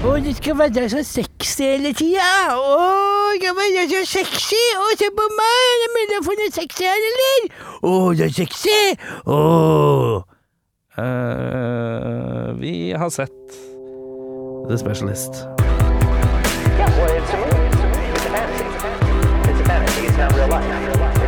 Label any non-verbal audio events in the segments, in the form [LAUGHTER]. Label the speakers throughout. Speaker 1: Å, du skal være så sexy hele tida. Å, du skal være så sexy. Å, se på meg. Er det mulig å få noe sexy her, eller? Å, du er sexy. Å.
Speaker 2: Eh, vi har sett The Specialist.
Speaker 3: Yeah, well, it's a movie. It's a movie. It's a fantasy. It's a fantasy. It's not real life.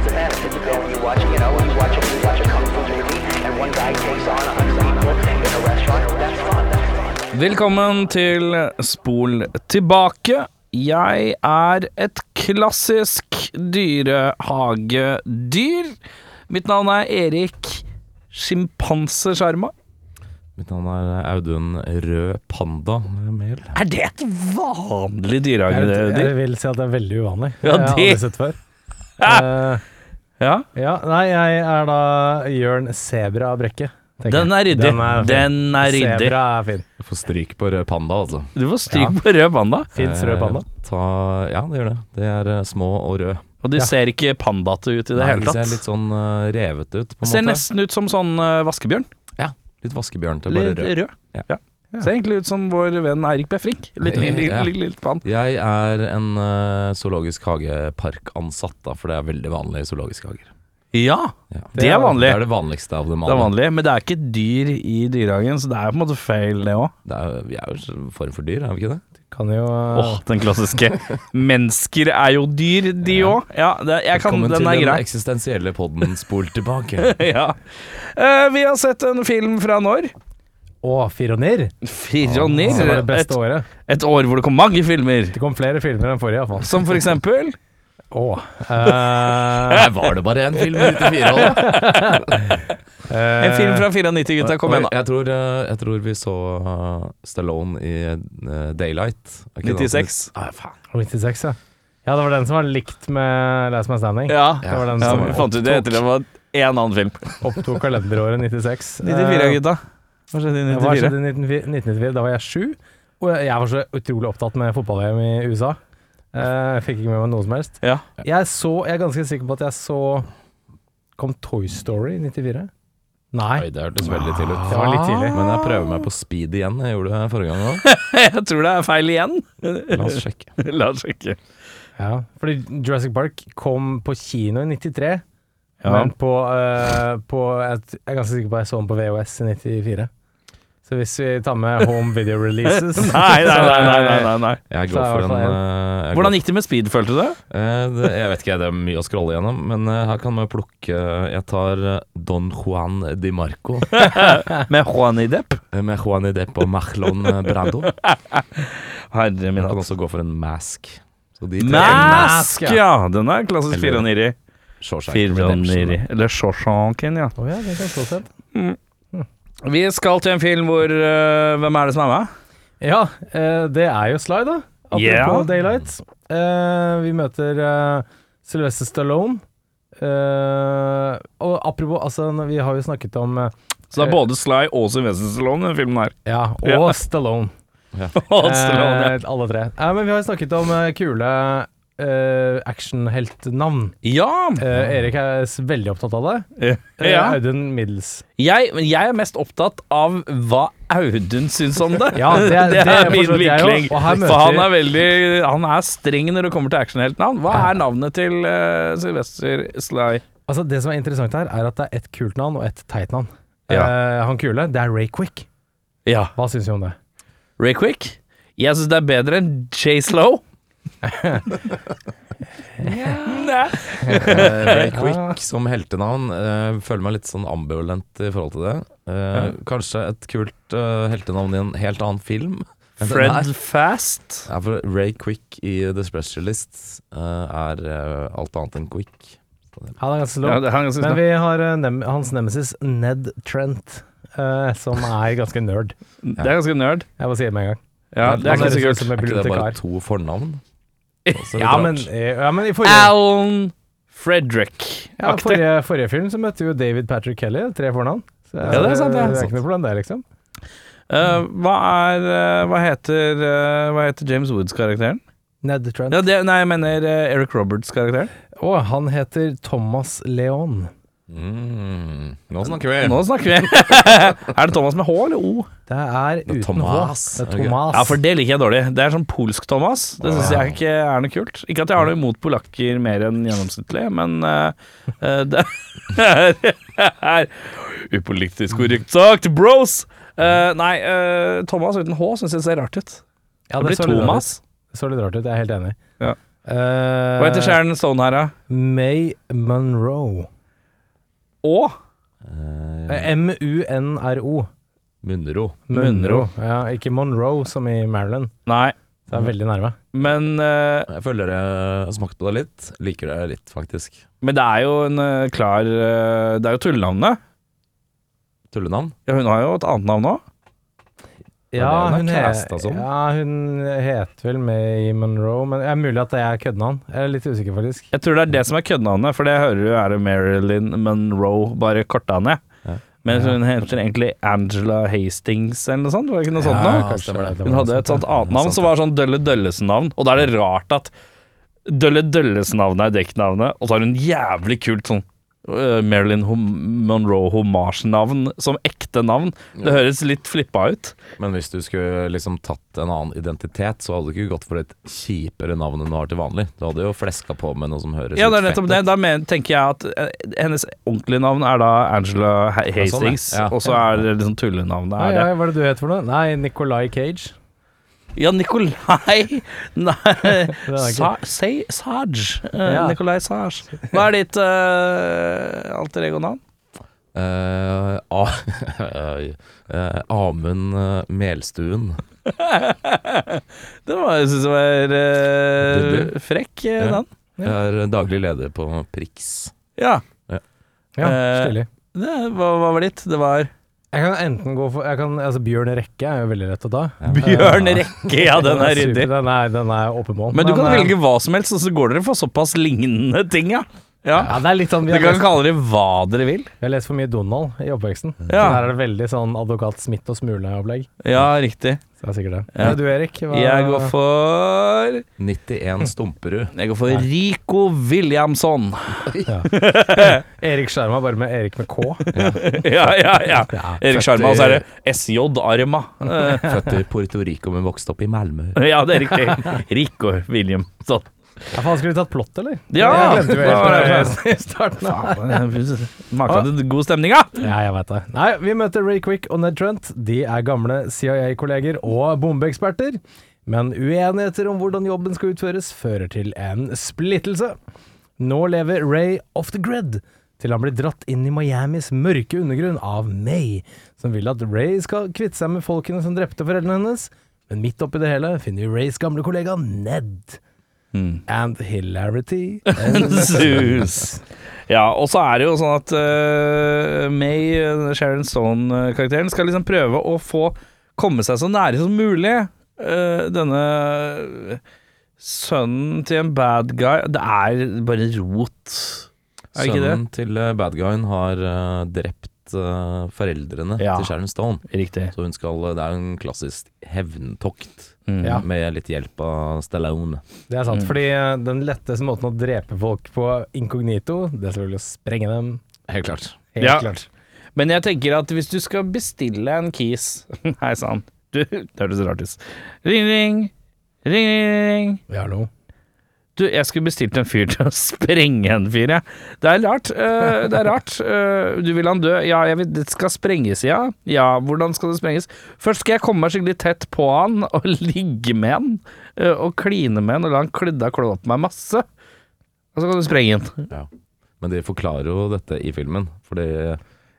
Speaker 3: It's a fantasy. You go and you watch, you know, you watch a, you watch a kung fu movie, and one guy takes on a hundred people in a restaurant. That's fun. That's fun.
Speaker 2: Velkommen til Spol tilbake. Jeg er et klassisk dyrehagedyr. Mitt navn er Erik Sjimpansesjarma.
Speaker 4: Mitt navn er Audun Rød Panda Mel.
Speaker 2: Er det et vanlig
Speaker 5: Jeg, vet-
Speaker 2: dyrehagedyr?
Speaker 5: jeg vil si at det er veldig uvanlig.
Speaker 2: Ja,
Speaker 5: jeg har
Speaker 2: det-
Speaker 5: aldri sett
Speaker 2: [LAUGHS]
Speaker 5: før. Eh,
Speaker 2: Ja.
Speaker 5: ja, nei, jeg er da Jørn Sebra Brekke. tenker jeg.
Speaker 2: Den er ryddig. Den
Speaker 5: fin.
Speaker 2: er ryddig.
Speaker 5: Sebra er fin.
Speaker 4: Du får stryk på Rød Panda, altså.
Speaker 2: Du får stryk på rød panda.
Speaker 5: Fins rød panda?
Speaker 4: Eh, Ta, ja, det gjør det. Det er eh, små og rød.
Speaker 2: Og de ser ikke pandate ut i det
Speaker 4: Nei,
Speaker 2: hele
Speaker 4: ser
Speaker 2: tatt.
Speaker 4: litt sånn eh, revete ut, på en
Speaker 2: Ser
Speaker 4: måte.
Speaker 2: nesten ut som sånn eh, vaskebjørn.
Speaker 4: Ja, litt vaskebjørn til bare
Speaker 2: Litt
Speaker 4: rød.
Speaker 2: rød.
Speaker 4: Ja.
Speaker 2: Ja. Ser egentlig ut som vår venn Eirik B. Frink. Litt, litt, litt,
Speaker 4: Ja.
Speaker 2: litt, litt pan.
Speaker 4: Jeg er en eh, zoologisk hageparkansatt, da, for det er veldig vanlig i zoologiske hager.
Speaker 2: Ja,
Speaker 4: Ja.
Speaker 2: det er vanlig.
Speaker 4: Det er det vanligste av dem
Speaker 2: Det er
Speaker 4: alle.
Speaker 2: vanlig, men det er ikke et dyr i dyrehagen, så det er på en måte feil, det òg.
Speaker 4: Det er, vi er jo en form for dyr, er vi ikke det?
Speaker 5: Kan jo eh,
Speaker 2: Åh, den klassiske. Mennesker er jo dyr, de òg. Ja, det, jeg kan,
Speaker 4: Velkommen
Speaker 2: den
Speaker 4: til
Speaker 2: er
Speaker 4: den
Speaker 2: grei.
Speaker 4: eksistensielle podden Spol tilbake. [LAUGHS]
Speaker 2: [LAUGHS] Ja. Eh, vi har sett en film fra når?
Speaker 5: Å, Fironir!
Speaker 2: Fironir.
Speaker 5: Det var det
Speaker 2: Et,
Speaker 5: beste året.
Speaker 2: et år hvor det kom mange filmer.
Speaker 5: Det kom flere filmer enn forrige, iallfall.
Speaker 2: Som for eksempel
Speaker 5: Å. eh,
Speaker 4: Her var det bare én film i 94 år.
Speaker 2: [LAUGHS]
Speaker 5: eh,
Speaker 2: En film fra 94, gutta. Kom
Speaker 4: Oi,
Speaker 2: igjen, da.
Speaker 4: Jeg tror, eh, jeg tror vi så eh, Stallone i eh, Daylight. Er ikke det han som-
Speaker 2: 96.
Speaker 4: Ah, faen.
Speaker 5: 96, ja. Ja, det var den som var likt med Last Man Standing.
Speaker 2: Ja,
Speaker 5: Det var den
Speaker 2: ja
Speaker 5: som
Speaker 2: vi fant ut det etter det var én annen film.
Speaker 5: opptok kalenderåret 96.
Speaker 2: 94,
Speaker 5: Eh,
Speaker 2: gutta. Hva skjedde i
Speaker 5: Hva
Speaker 2: 94?
Speaker 5: skjedde i 1994? 1994? Da var jeg sju, og jeg- jeg var så utrolig opptatt med fotball-VM i USA. Eh, Jeg fikk ikke med meg noe som helst.
Speaker 2: Ja. [LAUGHS]
Speaker 5: Jeg, så, jeg er ganske sikker på at jeg så Kom Toy Story i 94? Nei.
Speaker 4: Oi, det hørtes
Speaker 2: Ah,
Speaker 4: veldig til ut.
Speaker 5: Det var litt tidlig.
Speaker 4: Men jeg prøver meg på speed igjen. Jeg gjorde det forrige gang òg.
Speaker 2: Jeg tror det er feil igjen. [LAUGHS]
Speaker 4: La oss sjekke.
Speaker 2: La oss sjekke.
Speaker 5: [LAUGHS] Ja. Fordi Jurassic Park kom på kino i 93,
Speaker 2: Ja.
Speaker 5: men på, eh, på jeg, jeg er ganske sikker på at jeg så den på VHS i 94. Så hvis vi tar med home
Speaker 2: [LAUGHS]
Speaker 5: video releases
Speaker 2: Nei, nei, nei, nei, nei, nei, nei.
Speaker 4: Jeg
Speaker 5: Så
Speaker 4: går
Speaker 5: er
Speaker 4: for
Speaker 5: det i hvert
Speaker 4: en
Speaker 5: fall
Speaker 4: eh, jeg går-
Speaker 2: Hvordan gikk det med speed, følte du det?
Speaker 4: Eh, det? Jeg vet ikke, det er mye å scrolle gjennom. Men eh, her kan vi plukke Jeg tar eh, Don Juan Di Marco
Speaker 2: Med Juani Depp?
Speaker 4: eh, med Juan Idep og Marlon eh,
Speaker 2: [LAUGHS]
Speaker 4: Brando. Jeg
Speaker 2: Herre min
Speaker 4: kan
Speaker 2: hatt.
Speaker 4: også gå for en mask. Så de tre-
Speaker 2: Mask, ja! Den er klassisk Fironiri.
Speaker 4: Shawshank Redemption.
Speaker 2: Fironiri. Eller Shawshanken, ja.
Speaker 5: Å ja, det kan slå seg.
Speaker 2: Vi skal til en film hvor øh, Hvem er det som er med?
Speaker 5: Ja, eh, det er jo Sly, da. Apropos
Speaker 2: Yeah.
Speaker 5: Daylight. Eh, vi møter eh, Sylvester Stallone. Eh, og apropos, altså, når vi har jo snakket om eh,
Speaker 2: Så det er både Sly og Sylvester Stallone i denne filmen her. [LAUGHS]
Speaker 5: Ja, og
Speaker 2: Ja.
Speaker 5: Stallone.
Speaker 2: [LAUGHS] Og Stallone, ja.
Speaker 5: Eh, alle tre. Eh, men vi har jo snakket om eh, kule eh, actionheltnavn.
Speaker 2: Ja!
Speaker 5: Eh, Erik er s- veldig opptatt av det. Eh,
Speaker 2: ja.
Speaker 5: Audun middels.
Speaker 2: Jeg, men jeg er mest opptatt av hva Audun syns om [LAUGHS] det.
Speaker 5: [LAUGHS] Ja, det er- det er for
Speaker 2: min
Speaker 5: så vidt jeg også.
Speaker 2: vinkling.
Speaker 5: Og her møter
Speaker 2: For han
Speaker 5: vi-
Speaker 2: er veldig Han er streng når det kommer til actionheltnavn. Hva er navnet til øh, Sylvester Sly?
Speaker 5: Altså, det som er interessant her, er at det er ett kult navn og ett teit navn. Eh, han kule, det er Ray Quick.
Speaker 2: Ja.
Speaker 5: Hva syns vi om det?
Speaker 2: Ray Quick? Jeg syns det er bedre enn Jay Slow.
Speaker 5: [LAUGHS]
Speaker 2: Nei. [LAUGHS]
Speaker 4: Eh, Ray Quick som heltenavn eh, føler meg litt sånn ambivalent i forhold til det. Eh, Kanskje et kult eh, heltenavn i en helt annen film. enn den her.
Speaker 2: Fred Fast.
Speaker 4: Ja, for Ray Quick i The Specialist eh, er eh, alt annet enn quick.
Speaker 5: Han er ganske slow.
Speaker 2: Ja, det, han
Speaker 5: Men
Speaker 2: synes det.
Speaker 5: vi har eh, nem hans nemesis Ned Trent, eh, som er ganske nerd.
Speaker 2: det er ganske nerd.
Speaker 5: Jeg bare sier det med en gang.
Speaker 2: Ja, altså, liksom, det er
Speaker 5: Han
Speaker 2: ikke så kult.
Speaker 5: høres ut Som en
Speaker 4: Er ikke det bare [LAUGHS]
Speaker 5: bibliotekar.
Speaker 2: Altså,
Speaker 4: to fornavn? Også litt
Speaker 5: Ja,
Speaker 4: rart.
Speaker 5: men, eh, ja, men i forrige
Speaker 2: Alan
Speaker 5: Ja,
Speaker 2: Fredrick-aktig.
Speaker 5: forrige, forrige film så møtte vi jo David Patrick Kelly, tre fornavn. Så, eh,
Speaker 2: Ja, det er sant, ja.
Speaker 5: Det er ikke noe problem, det, liksom.
Speaker 2: Eh, hva er eh, Hva heter eh, Hva heter James Woods-karakteren?
Speaker 5: Ned Trent.
Speaker 2: Ja, det, nei, jeg mener eh, Eric Roberts-karakteren.
Speaker 5: Og han heter Thomas Leon.
Speaker 4: Mm, nå snakker vi.
Speaker 2: Nå snakker vi! [LAUGHS] er det Thomas med H eller O?
Speaker 5: Det er uten
Speaker 4: Thomas.
Speaker 5: H. Det
Speaker 4: Ok.
Speaker 5: er Thomas.
Speaker 2: Ja, for det liker jeg dårlig. Det er sånn polsk Thomas. Det syns jeg ikke er noe kult. Ikke at jeg har noe imot polakker mer enn gjennomsnittlig, men eh, eh, det er, [LAUGHS] er upolitisk korrekt sagt, bros! Eh, nei, eh, Thomas uten H syns jeg ser rart ut. det,
Speaker 5: Ja, så
Speaker 2: blir
Speaker 5: litt rart
Speaker 2: Thomas.
Speaker 5: ut. Det så litt rart ut, jeg er helt enig.
Speaker 2: Ja.
Speaker 5: Eh,
Speaker 2: Hva heter Sharon Stone her, da?
Speaker 5: May Monroe.
Speaker 2: Å?
Speaker 5: Eh, M-U-N-R-O.
Speaker 4: Munro.
Speaker 2: Munro.
Speaker 5: Ja, ikke Monroe som i Maryland.
Speaker 2: Nei.
Speaker 5: Det er veldig nærme.
Speaker 2: Men, eh,
Speaker 4: Jeg føler dere har smakt på det litt. Liker det litt, faktisk.
Speaker 2: men det er jo en eh, klar eh, Det er jo tullenavnet.
Speaker 4: Tullenavn?
Speaker 2: Ja, hun har jo et annet navn òg.
Speaker 4: Ja, det er
Speaker 5: hun,
Speaker 4: det hun er
Speaker 5: he-
Speaker 4: casta
Speaker 2: sånn.
Speaker 4: som.
Speaker 5: ja, hun heter vel May Monroe, men det er mulig at det er køddenavn. Jeg er litt usikker, faktisk.
Speaker 2: Jeg tror det er det som er køddenavnet, for det hører du er det Marilyn Monroe, bare korta ned.
Speaker 4: Ja.
Speaker 2: Men hun heter egentlig Angela Hastings eller noe sånt. Var det ikke noe sånt
Speaker 4: Ja,
Speaker 2: nå?
Speaker 4: kanskje det var det.
Speaker 2: Hun hadde et sånt annet navn som var sånn Dølle Døllesen-navn, og da er det rart at Dølle Døllesen-navnet er dekknavnet, og så har hun jævlig kult sånn øh, Marilyn Hom- Monroe-homasjenavn som ekte navn. Det høres litt flippa ut.
Speaker 4: Men hvis du skulle liksom tatt en annen identitet, så hadde du ikke gått for et kjipere navn enn du har til vanlig. Du hadde jo fleska på med noe som høres
Speaker 2: Ja, det er
Speaker 4: litt
Speaker 2: nettopp det. Da men, tenker jeg at eh, hennes ordentlige navn er da Angela Ha-
Speaker 4: sånn, ja.
Speaker 2: Hastings,
Speaker 4: Ja.
Speaker 2: og så er det liksom tullenavnet
Speaker 5: Hva
Speaker 2: er det.
Speaker 5: ja, hva er det du heter for noe? Nei, Nicolai Cage.
Speaker 2: Ja, Nikolai [LAUGHS]
Speaker 4: [LAUGHS]
Speaker 2: Nei,
Speaker 5: ikke-
Speaker 2: Sa, say, Sarge. Eh,
Speaker 5: Ja.
Speaker 2: Nikolai Sarge. Hva er ditt eh, alter ego-navn?
Speaker 4: Eh, a- [LAUGHS] eh, Amund eh, Melstuen.
Speaker 2: Den var, jeg synes var eh,
Speaker 4: Det-
Speaker 2: frekk, eh,
Speaker 4: Ja.
Speaker 2: den.
Speaker 4: Jeg er daglig leder på Prix.
Speaker 2: Ja.
Speaker 5: Ja,
Speaker 2: Eh,
Speaker 5: stilig.
Speaker 2: Det, hva, hva var ditt? Det var
Speaker 5: Jeg kan enten gå for jeg kan, altså Bjørn Rekke er jo veldig lett å ta.
Speaker 2: Bjørn Rekke. Ja, den er
Speaker 5: super,
Speaker 2: ryddig.
Speaker 5: Den er, den er åpen mål.
Speaker 2: Men du kan
Speaker 5: eh,
Speaker 2: velge hva som helst, og så går dere for såpass lignende ting, ja. ja.
Speaker 5: Ja, det er litt sånn, vi,
Speaker 2: Dere
Speaker 5: har
Speaker 2: kan
Speaker 5: lest,
Speaker 2: kalle det hva dere vil.
Speaker 5: vi har lest for mye Donald i oppveksten.
Speaker 2: Ja.
Speaker 5: Så der er det veldig sånn advokat Smith og Smule-opplegg.
Speaker 2: Ja, riktig.
Speaker 5: Så det er sikkert det.
Speaker 2: Ja.
Speaker 5: Men Du Erik, hva
Speaker 2: Jeg går for
Speaker 4: 91 Stumperud.
Speaker 2: Jeg går for Rico
Speaker 5: [LAUGHS]
Speaker 2: Williamson.
Speaker 5: Erik Skjerma, bare med Erik med K.
Speaker 2: Ja, ja, ja.
Speaker 5: Ja. eh,
Speaker 2: Erik Sjarma, og så er det SJ Arma. [LAUGHS] Eh,
Speaker 4: Født i Puerto Rico, men vokste opp i Malmö.
Speaker 2: Ja, det er
Speaker 5: [LAUGHS]
Speaker 2: riktig. Rico Williamson.
Speaker 5: Ja, faen, skulle vi tatt plott, eller?
Speaker 2: Ja!
Speaker 5: Jeg glemte jo
Speaker 2: da var det-
Speaker 5: helt det [LAUGHS] i starten.
Speaker 2: Maken til god stemning, da!
Speaker 5: Ja, jeg vet det. Nei, vi møter Ray Quick og Ned Trent. De er gamle CIA-kolleger og bombeeksperter. Men uenigheter om hvordan jobben skal utføres, fører til en splittelse. Nå lever Ray off the grid, til han blir dratt inn i Miamis mørke undergrunn av May, som vil at Ray skal kvitte seg med folkene som drepte foreldrene hennes. Men midt oppi det hele finner vi Rays gamle kollega Ned.
Speaker 2: Mm.
Speaker 5: And hilarity. Eh,
Speaker 2: Sus. Ja, og så er det jo sånn at eh, May, eh, Sharon Stone-karakteren, skal liksom prøve å få komme seg så nære som mulig eh, denne eh, sønnen til en bad guy. Det er bare rot. Er det ikke det?
Speaker 4: Sønnen til eh, bad guyen har eh, drept eh, foreldrene
Speaker 2: Ja.
Speaker 4: til Sharon Stone.
Speaker 2: Riktig.
Speaker 4: Så hun skal, eh, det er jo en klassisk hevntokt,
Speaker 2: Mm.
Speaker 5: Ja.
Speaker 4: med litt hjelp av Stallone.
Speaker 5: Det er sant, fordi eh, den letteste måten å drepe folk på inkognito, det er selvfølgelig å sprenge dem.
Speaker 4: Helt klart.
Speaker 5: Helt
Speaker 2: Ja.
Speaker 5: klart.
Speaker 2: Men jeg tenker at hvis du skal bestille en kis [LAUGHS] Hei sann. Du- Det hørtes rart ut. Ring, ring. Ring, ring, ring.
Speaker 5: Ja, hallo.
Speaker 2: Du, jeg skulle bestilt en fyr [LAUGHS] til å sprenge en fyr, jeg. Det er rart. eh, det er rart. Eh, du vil han dø? Ja, jeg vil, det skal sprenges, ja. Ja, hvordan skal det sprenges? Først skal jeg komme meg skikkelig tett på han [LAUGHS] og ligge med han. eh, og kline med han og la han klødde og klå på meg masse. Og så kan du sprenge han.
Speaker 4: Men de forklarer jo dette i filmen, fordi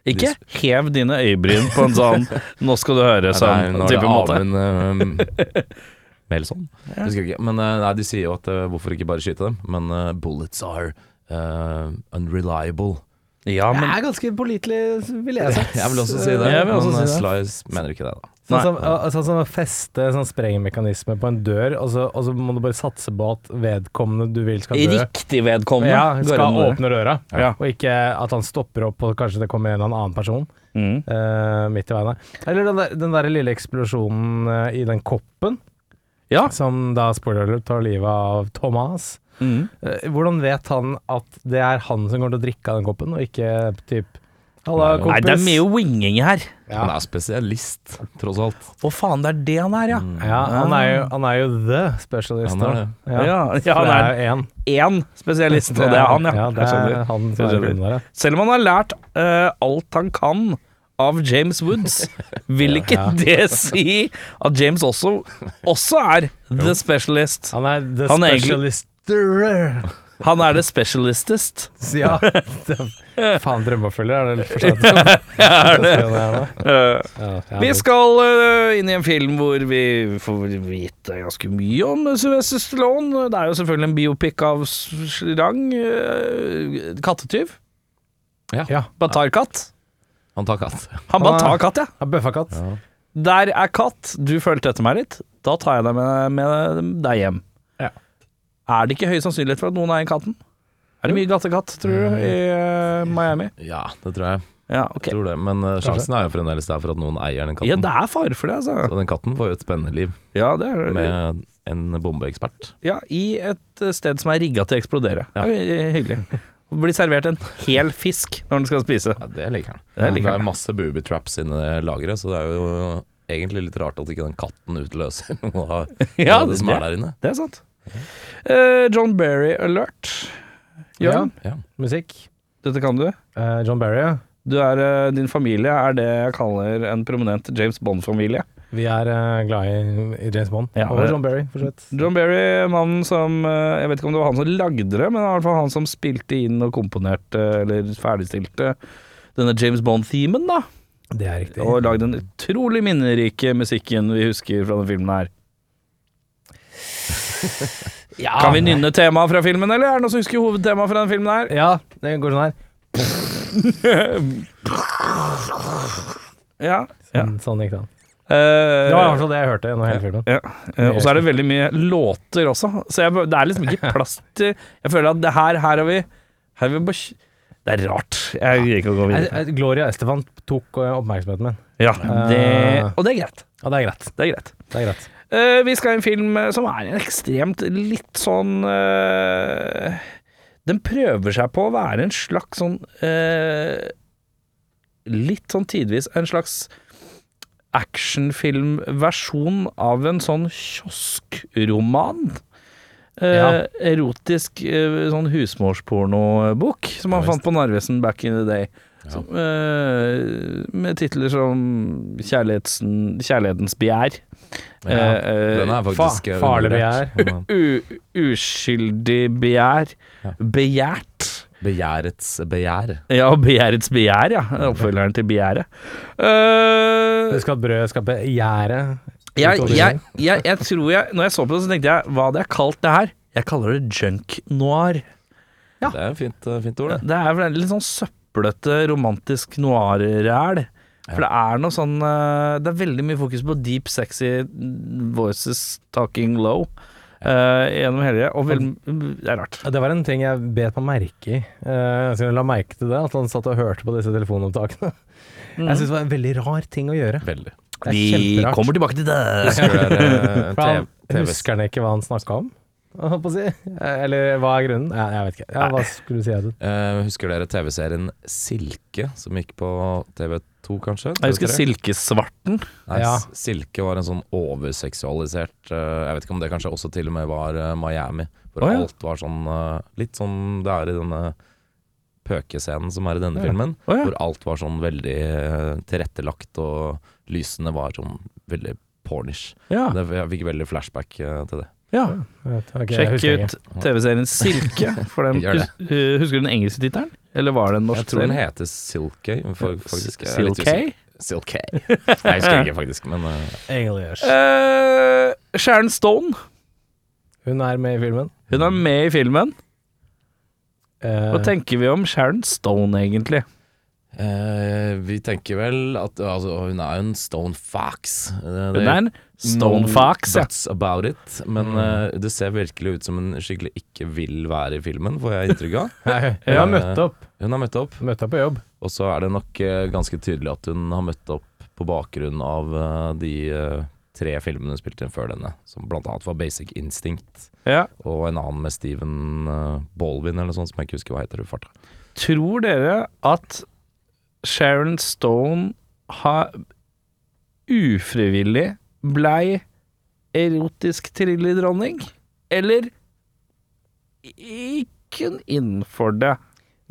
Speaker 2: Ikke hev dine øyebryn på en sånn 'nå skal du høre'
Speaker 4: Nei,
Speaker 2: sånn
Speaker 4: nå er det
Speaker 2: type måte.
Speaker 4: Amund
Speaker 2: [LAUGHS]
Speaker 4: eh, Melson. Jeg Husker ikke. Men eh, nei, de sier jo at eh, hvorfor ikke bare skyte dem? Men eh, bullets are eh, unreliable.
Speaker 2: Ja,
Speaker 5: Det
Speaker 2: men
Speaker 5: er ganske pålitelig, vil jeg si.
Speaker 4: [LAUGHS] Jeg vil også si det,
Speaker 2: Jeg vil også
Speaker 4: men eh,
Speaker 2: si det.
Speaker 4: Slice mener ikke det, da.
Speaker 5: Sånn
Speaker 2: Nei.
Speaker 5: som, al- sånn som å feste sånn sprengmekanisme på en dør, og så, og så må du bare satse på at vedkommende du vil skal dø,
Speaker 2: riktig vedkommende
Speaker 5: ja,
Speaker 2: går
Speaker 5: skal
Speaker 2: inn i det.
Speaker 5: åpne røra.
Speaker 2: Ja.
Speaker 5: Og ikke at han stopper opp og kanskje det kommer en eller annen person
Speaker 2: Mm.
Speaker 5: eh, midt i veien. der. Eller den der, den der lille eksplosjonen eh, i den koppen,
Speaker 2: Ja.
Speaker 5: som da spoiler alert tar livet av Thomas.
Speaker 2: Mm.
Speaker 5: Eh, hvordan vet han at det er han som kommer til å drikke av den koppen, og ikke typ Halla, kompis.
Speaker 2: Nei, det er mye winging her.
Speaker 5: Ja.
Speaker 4: Han er spesialist, tross alt.
Speaker 2: Å faen, det er det han er, ja.
Speaker 4: Mm.
Speaker 5: Ja, han er jo,
Speaker 2: Ah.
Speaker 5: han er jo the specialist.
Speaker 4: Han er
Speaker 5: da.
Speaker 4: det.
Speaker 2: Ja, ja,
Speaker 5: For
Speaker 2: han
Speaker 5: det
Speaker 2: er
Speaker 5: er jo én.
Speaker 2: én spesialist, og det er han, ja.
Speaker 5: ja det
Speaker 2: Jeg skjønner.
Speaker 5: er han som
Speaker 2: Jeg
Speaker 5: er
Speaker 2: skjønner.
Speaker 5: grunnen der, ja.
Speaker 2: Selv om han har lært eh, alt han kan av James [LAUGHS] Woods, vil ikke det si at James også, også er the specialist.
Speaker 5: Han er the
Speaker 2: Han er egentlig-
Speaker 5: specialist. Egentlig...
Speaker 2: Han er the specialistest. [LAUGHS]
Speaker 5: Ja. det- Faen, drømmeoppfølger er det litt for sent. Ja,
Speaker 2: Eh,
Speaker 5: ja,
Speaker 2: vi skal eh, inn i en film hvor vi får vite ganske mye om Sylvester Stallone. Det er jo selvfølgelig en biopic av s- rang. eh, kattetyv.
Speaker 4: Ja.
Speaker 5: Ja.
Speaker 2: Batarkatt.
Speaker 4: Han tar katt.
Speaker 2: Han bare tar katt, ja.
Speaker 5: Ja, Bøffa katt.
Speaker 2: Der er katt, du fulgte etter meg litt. Da tar jeg deg med, med deg hjem.
Speaker 5: Ja.
Speaker 2: Er det ikke høy sannsynlighet for at noen eier katten? Er det mye gattekatt, tror du, i eh, Miami?
Speaker 4: Ja, det tror jeg.
Speaker 2: Ja, ok.
Speaker 4: Tror det. Men eh, sjansen er jo fremdeles der for at noen eier den
Speaker 2: Ja,
Speaker 4: katten.
Speaker 2: det er fare for det, altså.
Speaker 4: Så den katten får jo et spennende liv
Speaker 2: Ja, det er det.
Speaker 4: med en bombeekspert.
Speaker 2: Ja, I et eh, sted som er rigga til å eksplodere. Det er jo, eh, hyggelig. Og Blir servert en hel fisk når den skal spise.
Speaker 4: Ja, det liker han.
Speaker 2: Det
Speaker 4: Det,
Speaker 2: liker han.
Speaker 4: er masse booby traps inni lageret, så det er jo egentlig litt rart at ikke den katten utløser [LAUGHS] noe av
Speaker 2: Ja,
Speaker 4: av det,
Speaker 2: det-
Speaker 4: som er der inne.
Speaker 2: Det er sant. Eh, John Berry alert. Jørn,
Speaker 4: Ja.
Speaker 5: Musikk.
Speaker 2: dette kan du.
Speaker 5: Eh, John Barry, ja.
Speaker 2: du er, eh, din familie er det jeg kaller en prominent James Bond-familie.
Speaker 5: Vi er eh, glad i, i James Bond.
Speaker 2: Ja,
Speaker 5: og
Speaker 2: det-
Speaker 5: John Barry, for så vidt.
Speaker 2: John Berry, mannen som eh, Jeg vet ikke om det var han som lagde det, men i hvert fall han som spilte inn og komponerte, eller ferdigstilte, denne James Bond-themen, da.
Speaker 5: Det er riktig.
Speaker 2: Og lagde den utrolig minnerike musikken vi husker fra den filmen [LAUGHS] her. kan vi nynne temaet fra filmen, eller er det noen som husker hovedtemaet fra den filmen her?
Speaker 5: Ja, det går sånn her.
Speaker 2: Ja. ja.
Speaker 5: Sånn gikk det an.
Speaker 2: Eh,
Speaker 5: Det var i hvert fall det jeg hørte gjennom hele filmen.
Speaker 2: Ja, eh, og så er det veldig mye låter også, så jeg, det er liksom ikke plass til Jeg føler at det her, her har vi Her har vi bare kj- Det er rart. Jeg gidder ikke å gå
Speaker 5: Jeg,
Speaker 2: videre.
Speaker 5: jeg, eh, Gloria Estefan tok eh, oppmerksomheten min.
Speaker 2: Ja, det,
Speaker 5: Eh.
Speaker 2: og det er greit.
Speaker 5: Ja, det er greit.
Speaker 2: Det er greit.
Speaker 5: Det er greit.
Speaker 2: Eh, vi skal i en film eh, som er en ekstremt litt sånn eh, Den prøver seg på å være en slags sånn eh, Litt sånn tidvis en slags actionfilmversjon av en sånn kioskroman. Eh,
Speaker 5: Ja.
Speaker 2: Erotisk eh, sånn husmorspornobok som man
Speaker 4: Ja, visst.
Speaker 2: fant på Narvesen back in the day. Som, eh, med titler som Kjærligheten, 'Kjærlighetens begjær'.
Speaker 4: Ja,
Speaker 2: Eh, eh,
Speaker 4: den er faktisk
Speaker 5: Fa farlig
Speaker 4: undervurdert.
Speaker 2: U uskyldig begjær.
Speaker 4: Ja.
Speaker 2: Begjært.
Speaker 4: Begjærets begjær.
Speaker 2: Ja, begjærets begjær, ja. Oppfølgeren til begjæret. Eh,
Speaker 5: Du skal ha brød, skal begjære
Speaker 2: jeg,
Speaker 5: utover
Speaker 2: jeg, jeg, jeg tror jeg Når jeg så på det, så tenkte jeg hva hadde jeg kalt det her? Jeg kaller det junk noir.
Speaker 4: Det er et fint, eh, fint ord, det.
Speaker 2: Det er vel en litt sånn søplete romantisk noir-ræl. For det er noe sånn eh, Det er veldig mye fokus på deep, sexy voices talking low eh, gjennom hele Og vel, mm, det er rart.
Speaker 5: Ja, Det var en ting jeg bet meg merke i. Eh, så jeg la merke til det, at han satt og hørte på disse telefonopptakene. [LAUGHS] Jeg
Speaker 2: Mm.
Speaker 5: syns det var en veldig rar ting å gjøre.
Speaker 4: Veldig.
Speaker 5: Det er
Speaker 2: Vi
Speaker 5: kjemperart.
Speaker 2: kommer tilbake til det.
Speaker 4: Husker eh, [LAUGHS] dere
Speaker 5: For han,
Speaker 4: TV
Speaker 5: husker han ikke hva han snakka om? Holdt på å si. Eh, Eller hva er grunnen? Ja, jeg vet ikke. Ja, hva skulle du si? Edun?
Speaker 4: Eh, husker dere TV-serien Silke, som gikk på TV2, kanskje?
Speaker 2: Jeg husker
Speaker 4: TV3?
Speaker 2: Silkesvarten.
Speaker 4: Nei,
Speaker 5: Ja.
Speaker 4: S- Silke var en sånn overseksualisert eh, Jeg vet ikke om det kanskje også til og med var eh, Miami. Hvor
Speaker 2: Å, ja.
Speaker 4: alt var sånn eh, Litt sånn det er i denne pøkescenen som er i denne filmen.
Speaker 2: Å, ja.
Speaker 4: Hvor alt var sånn veldig eh, tilrettelagt, og lysene var sånn veldig pornish.
Speaker 2: Ja,
Speaker 4: Det, jeg fikk veldig flashback eh, til det.
Speaker 2: ja.
Speaker 5: Jeg vet- ok, jeg
Speaker 2: Sjekk
Speaker 5: husker ikke.
Speaker 2: ut TV-serien Silke. For den,
Speaker 4: Gjør det.
Speaker 2: hus- uh, husker du den engelske tittelen? Eller var det en
Speaker 4: Jeg
Speaker 2: norsk
Speaker 4: tror den heter Silke, for, faktisk. jeg er litt
Speaker 2: Silke?
Speaker 4: usikker. Silke.
Speaker 2: [LAUGHS]
Speaker 4: Jeg husker ikke, faktisk, men eh,
Speaker 5: Engelsk.
Speaker 2: Eh, Sharon Stone.
Speaker 5: Hun er med i filmen.
Speaker 2: Hun er med i filmen.
Speaker 5: Eh,
Speaker 2: Hva tenker vi om Sharon Stone, egentlig?
Speaker 4: Eh, vi tenker vel at altså, Hun er jo en stone fox. Eh,
Speaker 2: Hun
Speaker 4: det-
Speaker 2: er en Stone
Speaker 4: no
Speaker 2: Fox, ja. Mm.
Speaker 4: buts about it. Men eh, det ser virkelig ut som hun skikkelig ikke vil være i filmen, får jeg inntrykk
Speaker 2: [LAUGHS]
Speaker 4: av.
Speaker 5: Nei, hun har møtt opp.
Speaker 4: Hun har møtt opp,
Speaker 5: Møtt opp på jobb.
Speaker 4: og så er det nok eh, ganske tydelig at hun har møtt opp på bakgrunn av eh, de eh, tre filmene hun spilte inn før denne, som blant annet var Basic Instinct,
Speaker 2: ja.
Speaker 4: og en annen med Steven eh, Baldwin eller noe sånt, som jeg ikke husker hva heter i farta.
Speaker 2: Tror dere at Sharon Stone har ufrivillig blei erotisk thrillerdronning? Eller ikke innenfor det?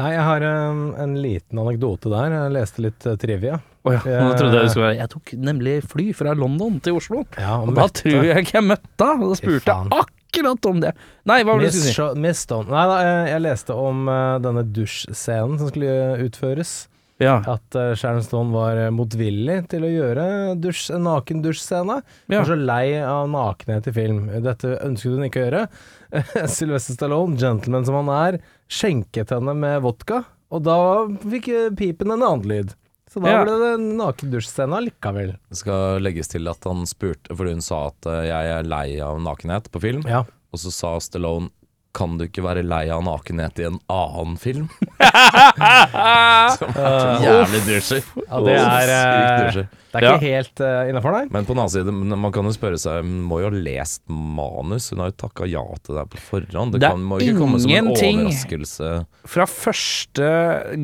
Speaker 5: Nei, jeg har en, en liten anekdote der. Jeg leste litt eh, trivia.
Speaker 2: Å ja,
Speaker 5: Jeg-
Speaker 2: nå trodde jeg det skulle være Jeg tok nemlig fly fra London til Oslo.
Speaker 5: Ja,
Speaker 2: Og da tror jeg ikke jeg møtte henne. Da
Speaker 5: Fy
Speaker 2: spurte
Speaker 5: faen.
Speaker 2: jeg akkurat om det. Nei, hva var det du skulle si?
Speaker 5: Miss Stone Nei da, eh, jeg leste om eh, denne dusjscenen som skulle eh, utføres.
Speaker 2: Ja.
Speaker 5: At eh, Sharon Stone var eh, motvillig til å gjøre dusj, en naken dusjscene. Hun
Speaker 2: Ja.
Speaker 5: var så lei av nakenhet i film. Dette ønsket hun ikke å gjøre. [LAUGHS] Sylvester Stallone, gentleman som han er, skjenket henne med vodka, og da fikk eh, pipen en annen lyd. Så da
Speaker 2: Ja.
Speaker 5: ble det en nakendusjscene allikevel.
Speaker 4: Det skal legges til at han spurte, fordi hun sa at eh, jeg er lei av nakenhet på film.
Speaker 5: Ja.
Speaker 4: Og så sa Stallone kan du ikke være lei av nakenhet i en annen
Speaker 2: [LAUGHS]
Speaker 4: film? Som er så jævlig dusjer.
Speaker 5: Ja, det er,
Speaker 4: Sykt
Speaker 5: eh,
Speaker 4: dusjer.
Speaker 5: Det er
Speaker 2: Ja.
Speaker 5: ikke helt uh, innafor, nei.
Speaker 4: Men på den annen side, men man kan jo spørre seg Hun må jo ha lest manus. Hun har jo takka ja til det her på forhånd. Det,
Speaker 2: Det er
Speaker 4: kan, må ikke komme som en
Speaker 2: ingenting.
Speaker 4: overraskelse.
Speaker 2: fra første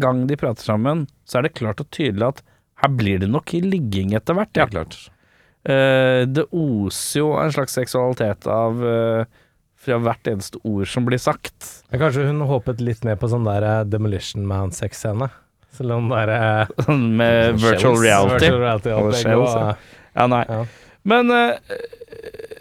Speaker 2: gang de prater sammen, så er det klart og tydelig at her blir det nok ligging etter hvert. Ja.
Speaker 4: Helt klart.
Speaker 2: Eh, det oser jo en slags seksualitet av eh, fra hvert eneste ord som blir sagt. [LAUGHS]
Speaker 5: Men kanskje hun håpet litt mer på sånn der eh, Demolition Man-sexscene. Selv om det er eh,
Speaker 2: Med
Speaker 4: Sånn
Speaker 2: virtual
Speaker 4: shells.
Speaker 2: reality.
Speaker 5: [LAUGHS] virtual reality
Speaker 2: Og
Speaker 5: og alt det eh,
Speaker 2: shells,
Speaker 5: gode.
Speaker 2: Ja, nei.
Speaker 5: Ja.
Speaker 2: Men eh,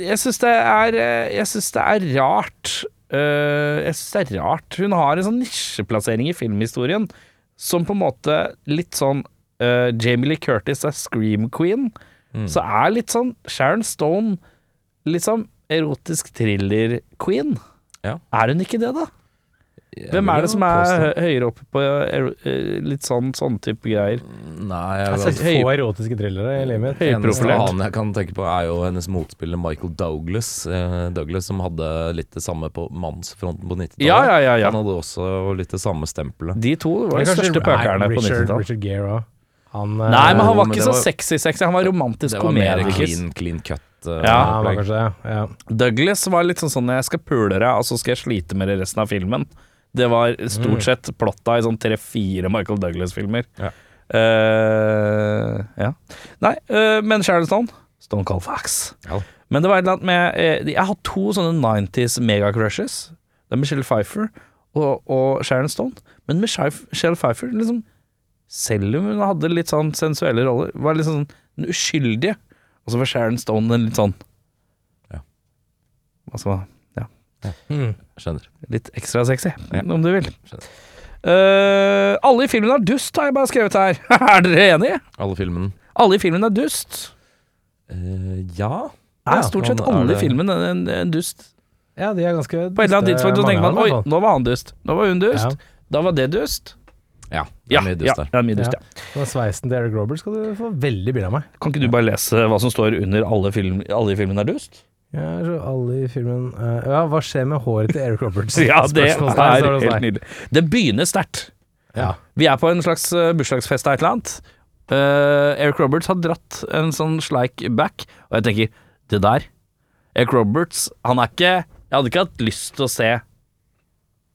Speaker 2: jeg syns det er eh, Jeg syns det er rart. Eh, jeg syns det er rart. Hun har en sånn nisjeplassering i filmhistorien som på en måte litt sånn eh, Jamie Lee Curtis er Scream Queen.
Speaker 4: Mm.
Speaker 2: Så er litt sånn Sharon Stone liksom erotisk thriller-queen.
Speaker 4: Ja.
Speaker 2: Er hun ikke det, da?
Speaker 4: Jeg
Speaker 2: Hvem
Speaker 4: vil
Speaker 2: er
Speaker 4: jo
Speaker 2: det som er
Speaker 4: påstå-
Speaker 2: hø- høyere oppe på ero- eh, litt sånn sånn type greier?
Speaker 4: Nei, jeg
Speaker 2: Altså,
Speaker 5: Jeg
Speaker 4: vil
Speaker 5: har
Speaker 4: at-
Speaker 5: sett altså, få erotiske thrillere i livet mitt.
Speaker 4: Eneste
Speaker 2: Høyprofilert.
Speaker 4: annen jeg kan tenke på, er jo hennes motspiller Michael Douglas. Eh, Douglas som hadde litt det samme på mannsfronten på 90-tallet.
Speaker 2: Ja, ja, ja, ja.
Speaker 4: Han hadde også litt det samme stempelet.
Speaker 2: De to var de
Speaker 5: Kanskje
Speaker 2: største pøkerne på
Speaker 5: Richard,
Speaker 2: 90-tallet.
Speaker 5: Richard Gere òg. Han eh,
Speaker 2: Nei, men
Speaker 4: Jo,
Speaker 2: han var
Speaker 4: men
Speaker 2: ikke
Speaker 4: det
Speaker 2: så
Speaker 4: var-
Speaker 2: sexy-sexy. Han var romantisk
Speaker 4: Det var mer
Speaker 2: komedisk.
Speaker 4: clean, clean cut. eh,
Speaker 2: Ja,
Speaker 5: ja, han var
Speaker 4: opplegg.
Speaker 5: kanskje det. Ja.
Speaker 2: Douglas var litt sånn sånn 'jeg skal pule deg, og så skal jeg slite med det resten av filmen'. Det var stort sett plotta i sånn tre-fire Michael Douglas-filmer.
Speaker 4: Mm. Ja.
Speaker 2: Eh, ja. Nei, eh, men Sharon Stone Stone Cold Fax.
Speaker 4: Ja.
Speaker 2: Men det var et eller annet med eh, Jeg har to sånne 90s megacrushes. Det er Michelle Pfeiffer og, og Sharon Stone. Men Michelle Michelle Pfeiffer, liksom selv om hun hadde litt sånn sensuelle roller, var liksom sånn den uskyldige. Og så var Sharon Stone den litt sånn
Speaker 4: Ja.
Speaker 2: Altså ja,
Speaker 4: Skjønner.
Speaker 2: litt ekstra sexy, om du vil.
Speaker 4: Skjønner.
Speaker 2: Eh, alle i filmen er dust, har jeg bare skrevet her. [LAUGHS] er dere enige?
Speaker 4: Alle filmene.
Speaker 2: Alle i filmen er dust.
Speaker 4: Eh, ja.
Speaker 2: Er stort sett
Speaker 4: han er
Speaker 2: alle i
Speaker 4: det.
Speaker 2: filmen en, en, en dust.
Speaker 5: ja, de er ganske
Speaker 2: På et eller annet
Speaker 5: dyste,
Speaker 2: tidspunkt så
Speaker 5: mange
Speaker 2: tenker man
Speaker 5: av dem,
Speaker 2: oi,
Speaker 5: i hvert fall.
Speaker 2: nå var han dust. Nå var hun dust. Da var det dust.
Speaker 4: Ja, det
Speaker 2: Ja,
Speaker 4: er mye dust
Speaker 2: ja,
Speaker 4: der.
Speaker 2: det er mye dust, ja.
Speaker 5: Den sveisen til Eric Roberts skal du få veldig bilde av meg.
Speaker 2: Kan ikke du bare lese hva som står under alle, film, alle i filmen er dust?
Speaker 5: Ja, så alle i filmen eh, Ja, hva skjer med håret til Eric Roberts?
Speaker 2: [LAUGHS] Ja, det
Speaker 5: Spørsmålstegn,
Speaker 2: er
Speaker 5: står det hos
Speaker 2: helt
Speaker 5: deg.
Speaker 2: nydelig. Det begynner sterkt.
Speaker 5: Ja.
Speaker 2: Vi er på en slags eh, bursdagsfest av et eller annet. Eh, Eric Roberts har dratt en sånn sleik back, og jeg tenker det der Eric Roberts, han er ikke Jeg hadde ikke hatt lyst til å se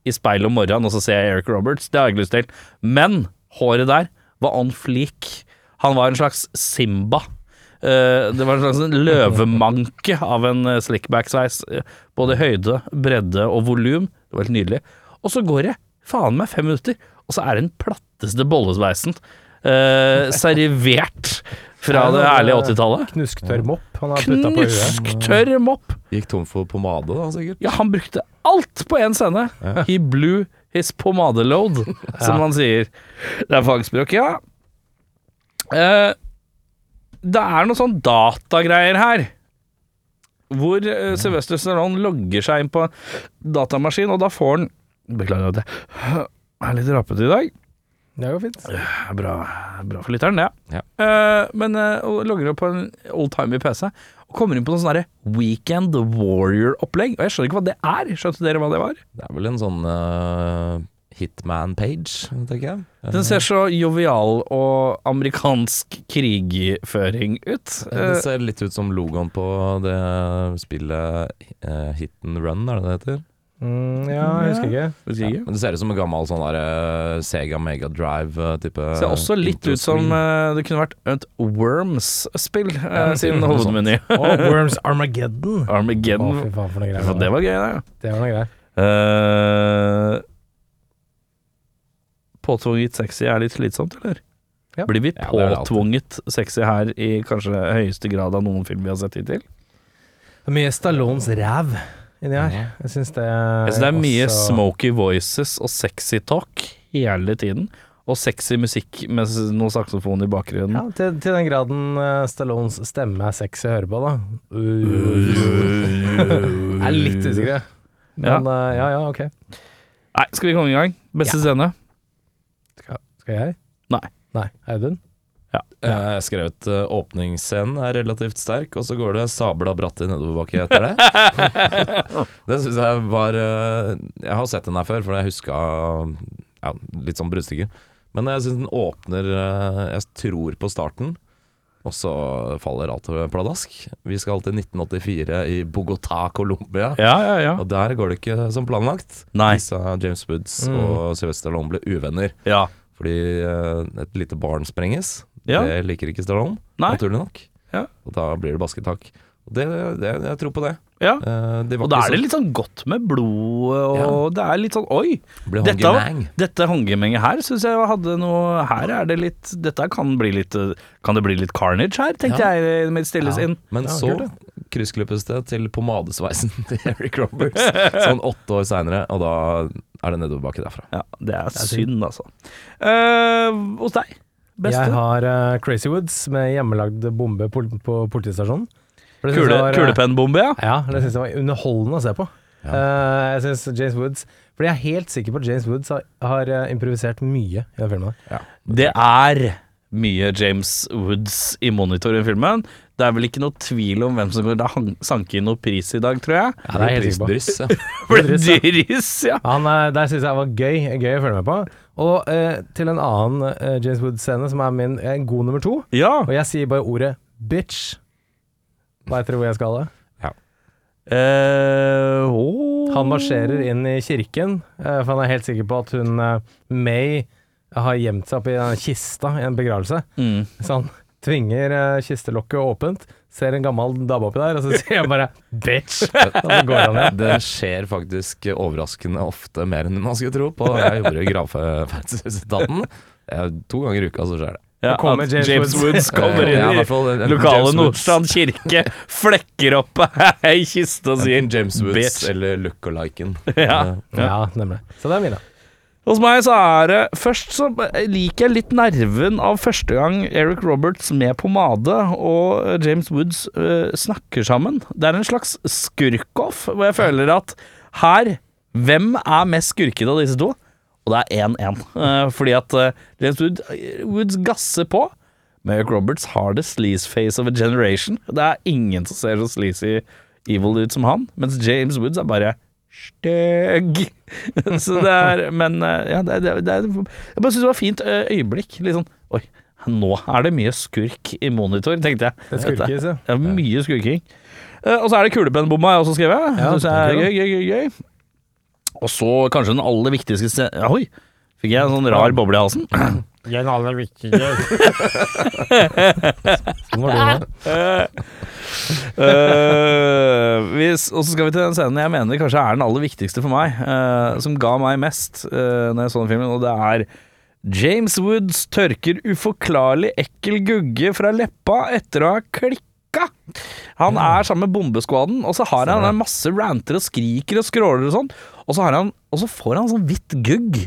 Speaker 2: i speilet om morgenen, og så ser jeg Eric Roberts. Det har jeg ikke lyst til. Men håret der var on fleak. Han var en slags Simba. Eh, det var en slags løvemanke av en eh, slickback-sveis. Eh, Både høyde, bredde og volum. Det var helt nydelig. Og så går det faen meg fem minutter, og så er det den platteste bollesveisen eh, servert fra det ærlige 80-tallet.
Speaker 5: Knusktørr mopp han har putta på huet.
Speaker 2: Knusktørr mopp.
Speaker 4: Gikk tom for pomade, da, sikkert.
Speaker 2: Ja, han brukte alt på én scene. He blew his pomade load, som man sier. Det er fagspråk, ja. Eh, det er noe sånn datagreier her. Hvor eh, Sylvester Stallone logger seg inn på en datamaskin, og da får han Beklager at jeg er litt rapete i dag.
Speaker 5: Det er jo fint.
Speaker 2: Det er Bra, bra for lytteren, det.
Speaker 4: Ja.
Speaker 2: Eh, men eh, og logger opp på en oldtimer PC og kommer inn på noe sånn derre Weekend Warrior-opplegg. Og jeg skjønner ikke hva det er. Skjønte dere hva det var?
Speaker 4: Det er vel en sånn eh, hitman-page, tenker jeg. Eh,
Speaker 2: Den ser så jovial og amerikansk krigføring ut.
Speaker 4: det
Speaker 2: Eh,
Speaker 4: ser litt ut som logoen på det spillet eh, Hit and Run, er det det heter?
Speaker 5: Mm, ja, jeg husker ikke.
Speaker 2: husker
Speaker 4: Ja,
Speaker 2: ikke.
Speaker 4: men det ser ut som en gammel sånn der eh, Sega Mega eh, Drive-type
Speaker 2: Ser også litt ut som eh, det kunne vært et Worms-spill, eh, siden
Speaker 4: noe
Speaker 2: hovedmeny.
Speaker 5: Og Worms Armageddon.
Speaker 2: [LAUGHS]
Speaker 5: Å,
Speaker 2: Armageddon.
Speaker 5: fy faen, for noe
Speaker 2: Ja,
Speaker 5: greier.
Speaker 2: det var gøy, det.
Speaker 5: det var noe greier.
Speaker 2: Eh, Påtvunget sexy er litt slitsomt, eller?
Speaker 5: Ja.
Speaker 2: Blir vi
Speaker 4: Ja, det er det alltid.
Speaker 2: påtvunget sexy her i kanskje høyeste grad av noen film vi har sett hittil?
Speaker 5: Det er mye Stallones ræv inni her. Jeg syns det
Speaker 2: Jeg synes det er mye
Speaker 5: også-
Speaker 2: smoky voices og sexy talk hele tiden. Og sexy musikk med s- noe saksofon i bakgrunnen.
Speaker 5: Ja, til, til den graden eh, Stallones stemme er sexy å høre på, da. Jeg er litt usikker, jeg. Men eh, ja, ja, ok.
Speaker 2: Nei, skal vi komme i gang? Beste scene?
Speaker 5: Skal, skal jeg?
Speaker 2: Nei.
Speaker 5: Nei. Audun?
Speaker 4: Jeg har skrevet uh, åpningsscenen er relativt sterk, og så går det sabla bratt i nedoverbakke etter
Speaker 2: [LAUGHS]
Speaker 4: det. det syns jeg var eh, Jeg har sett den her før, for jeg huska ja, litt sånn bruddstykker. Men jeg syns den åpner eh, Jeg tror på starten, og så faller alt pladask. Vi skal til 1984 i Bogotá, Colombia.
Speaker 2: Ja, ja, ja.
Speaker 4: Og der går det ikke som planlagt.
Speaker 2: Nei. Mm.
Speaker 4: Disse James Woods og Sylvester Stallone ble uvenner
Speaker 2: ja.
Speaker 4: fordi eh, et lite barn sprenges.
Speaker 2: Ja.
Speaker 4: Det liker ikke Stallone,
Speaker 2: Nei.
Speaker 4: naturlig nok.
Speaker 2: Ja.
Speaker 4: Og da blir det basketak. Og Det, det, jeg tror på det.
Speaker 2: ja.
Speaker 4: Eh, det var
Speaker 2: Og da
Speaker 4: ikke
Speaker 2: er det
Speaker 4: så-
Speaker 2: litt sånn godt med blodet, og det er litt sånn oi.
Speaker 4: Ble
Speaker 2: Dette,
Speaker 4: hongemang.
Speaker 2: dette håndgemenget her syns jeg hadde noe Her er det litt Dette kan bli litt eh, Kan det bli litt carnage her, tenkte
Speaker 4: Ja.
Speaker 2: jeg i mitt stille sinn.
Speaker 4: Men
Speaker 5: Ja,
Speaker 4: så
Speaker 5: kult,
Speaker 4: kryssklippes det til pomadesveisen [LAUGHS] til Eric Roberts
Speaker 2: [LAUGHS]
Speaker 4: sånn åtte år seinere, og da er det nedoverbakke derfra.
Speaker 2: Ja, det er synd, altså. Eh, hos deg? Beste?
Speaker 5: Jeg har eh, Crazy Woods med hjemmelagd bombe pol på politistasjonen. For det synes
Speaker 2: Kule,
Speaker 5: jeg var, eh,
Speaker 2: kulepennbombe, ja?
Speaker 5: Ja, det syns jeg var underholdende å se på. Eh, jeg synes James Woods Fordi jeg er helt sikker på at James Woods har, har eh, improvisert mye i den filmen. her.
Speaker 2: Det er mye James Woods i monitor i filmen. Det er vel ikke noe tvil om hvem som går da hang- sanke inn noe pris i dag, tror jeg.
Speaker 5: Ja, det er jeg helt sikker på.
Speaker 4: Dryss, ja.
Speaker 2: For det dyris, ja.
Speaker 5: Han, eh, der syns jeg var gøy, gøy å følge med på. Og eh, til en annen eh, James Woods-scene, som er min eh, god nummer to.
Speaker 2: Ja.
Speaker 5: Og jeg sier bare ordet 'bitch'. Veit dere hvor jeg skal? da?
Speaker 2: Eh, åh.
Speaker 5: Han marsjerer inn i kirken, eh, for han er helt sikker på at hun eh, May eh, har gjemt seg oppi en kista i en begravelse.
Speaker 2: Mm.
Speaker 5: Så han tvinger eh, kistelokket åpent, ser en gammel dame oppi der, og så [LAUGHS] sier han bare 'bitch'. Og så går han igjen.
Speaker 4: [LAUGHS] Det skjer faktisk overraskende ofte mer enn man skulle tro på. Jeg jobber i Gravferdsetaten. To ganger i uka så skjer det. Eh,
Speaker 2: Ja,
Speaker 5: kommer
Speaker 2: at
Speaker 5: James
Speaker 2: James Woods
Speaker 5: Woods. [LAUGHS]
Speaker 2: kommer
Speaker 4: Ja, i
Speaker 2: inn i
Speaker 4: hvert fall en- en
Speaker 2: lokale
Speaker 4: James Woods.
Speaker 2: Nordstrand kirke, flekker opp [LAUGHS] ei kiste og sier
Speaker 4: Enten James Woods
Speaker 2: Bitch.
Speaker 4: eller
Speaker 2: [LAUGHS]
Speaker 4: look-aliken.
Speaker 2: Ja.
Speaker 5: Ja, nemlig. Så det er mine.
Speaker 2: Hos meg så er det Først så liker jeg litt nerven av første gang Eric Roberts med pomade og James Woods øh, snakker sammen. Det er en slags skurkoff, hvor jeg føler at her Hvem er mest skurkete av disse to? Og det er 1-1. Eh, fordi at eh, James Wood, Woods gasser på. Men Eric Roberts har det sleaze face of a generation. Det er ingen som ser så sleazy evil ut som han. Mens James Woods er bare stygg. [LAUGHS] så det er Men eh, ja, det, det, det er Jeg bare syns det var fint eh, øyeblikk. Litt sånn Oi, nå er det mye skurk i monitor, tenkte jeg.
Speaker 5: Det skurkes, ja.
Speaker 2: Det er mye skurking. Eh, og så er det kulepennbomma jeg også skrev. Ja, det er gøy, gøy, gøy, gøy. Og så kanskje den aller viktigste scenen Oi! Fikk jeg en sånn rar boble i halsen?
Speaker 1: Den aller
Speaker 5: [LAUGHS]
Speaker 1: viktigste.
Speaker 5: Sånn var det nå.
Speaker 2: Eh, hvis, og så skal vi til den scenen jeg mener kanskje er den aller viktigste for meg, eh, som ga meg mest uh, når jeg så den filmen, og det er James Woods tørker uforklarlig ekkel gugge fra leppa etter å ha klikka. Han er sammen med bombeskvaden, og så har han en masse ranter og skriker og skråler og sånn, og så, har han, og så får han sånn hvitt gugg,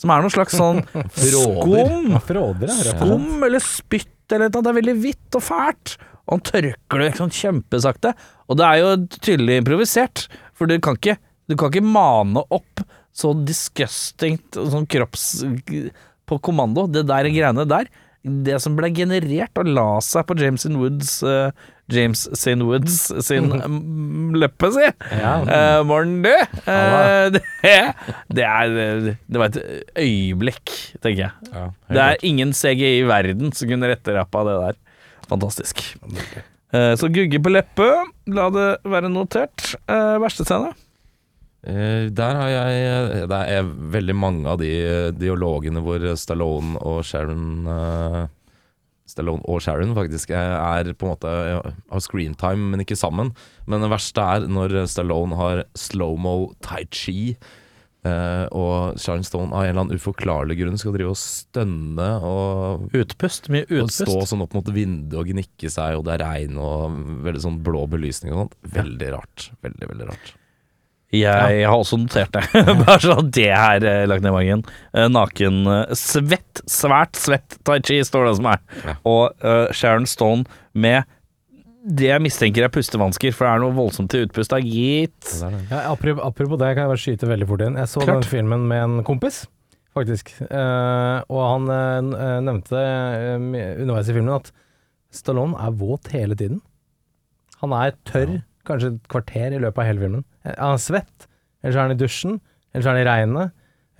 Speaker 2: som er noe slags sånn skum.
Speaker 5: Fråder, ja. rett og slett.
Speaker 2: Skum eller spytt eller noe, det er veldig hvitt og fælt. Og han tørker det vekk sånn kjempesakte. Og det er jo tydelig improvisert, for du kan ikke, du kan ikke mane opp så disgusting og sånn kropps... På kommando. Det der greiene der. Det som ble generert og la seg på James in Woods eh, James St. Woods
Speaker 5: [LAUGHS]
Speaker 2: sin mm, leppe, si. Eh, Morten, du. Eh, [LAUGHS] det, det er Det var et øyeblikk, tenker jeg.
Speaker 4: Ja,
Speaker 2: Det er ingen CGI i verden som kunne retterappa det der. Fantastisk. Eh, Så gugge på leppe, la det være notert. Eh, Verste scene?
Speaker 4: Eh, Der har jeg Det er veldig mange av de eh, dialogene hvor Stallone og Sharon eh, Stallone og Sharon faktisk er, er på en måte ja, har screentime, men ikke sammen. Men det verste er når Stallone har slow-mo tai chi, eh, og Sharon Stone av en eller annen uforklarlig grunn skal drive og stønne og
Speaker 2: Utpust. Mye
Speaker 4: og stå sånn opp mot vinduet og gnikke seg, og det er regn og veldig sånn blå belysning og sånt. Veldig rart. Veldig, veldig rart.
Speaker 2: Jeg har også notert det. [LAUGHS] Bare sånn at det er eh, lagt ned i magen. Eh, Naken eh, svett, svært svett tai chi står det som er.
Speaker 4: Ja.
Speaker 2: Og eh, Sharon Stone med det jeg mistenker er pustevansker, for det er noe voldsomt til utpust. Da, gitt.
Speaker 4: Det er det.
Speaker 5: Ja, apropos, apropos det, kan jeg bare skyte veldig fort inn. Jeg så
Speaker 2: Klart.
Speaker 5: den filmen med en kompis, faktisk. Eh, og han eh, n- eh, nevnte eh, m- underveis i filmen at Stallone er våt hele tiden. Han er tørr kanskje et kvarter i løpet av hele filmen. Eh, Han er svett, eller så er han i dusjen, eller så er han i regnet.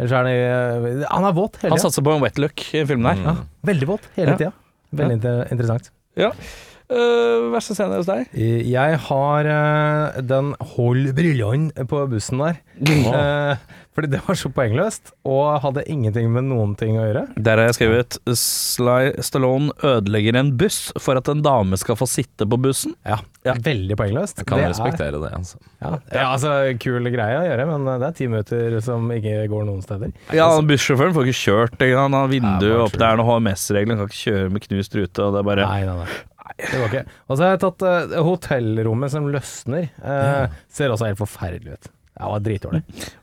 Speaker 5: Eller så er han i eh, Han er våt hele
Speaker 2: Han
Speaker 5: tida.
Speaker 2: satser på en wet look i filmen her.
Speaker 5: Ja, veldig våt hele
Speaker 2: Ja.
Speaker 5: tida. Veldig inter interessant.
Speaker 2: Eh, verste scene hos deg?
Speaker 5: Jeg har eh, den hold brillene på bussen der. Eh, fordi det var så poengløst, og hadde ingenting med noen ting å gjøre.
Speaker 2: Der har jeg skrevet Sly Stallone ødelegger en buss for at en dame skal få sitte på bussen.
Speaker 5: Ja, Veldig poengløst.
Speaker 4: Jeg kan
Speaker 5: Det er-
Speaker 4: respektere det, altså.
Speaker 5: Ja, ja, altså, kul greie å gjøre, men eh, det er ti minutter som ikke går noen steder.
Speaker 2: Ja, han Altså, Bussjåføren får ikke kjørt, ikke sant? han har vindu
Speaker 4: Ja, bare
Speaker 2: opp, det er noen HMS-regler, han kan ikke kjøre med knust rute. Og det er bare
Speaker 5: Nei, nei, nei. Det går ikke. Og så har jeg tatt eh, hotellrommet som løsner. Eh, Ser også helt forferdelig ut. Ja, det var dritdårlig.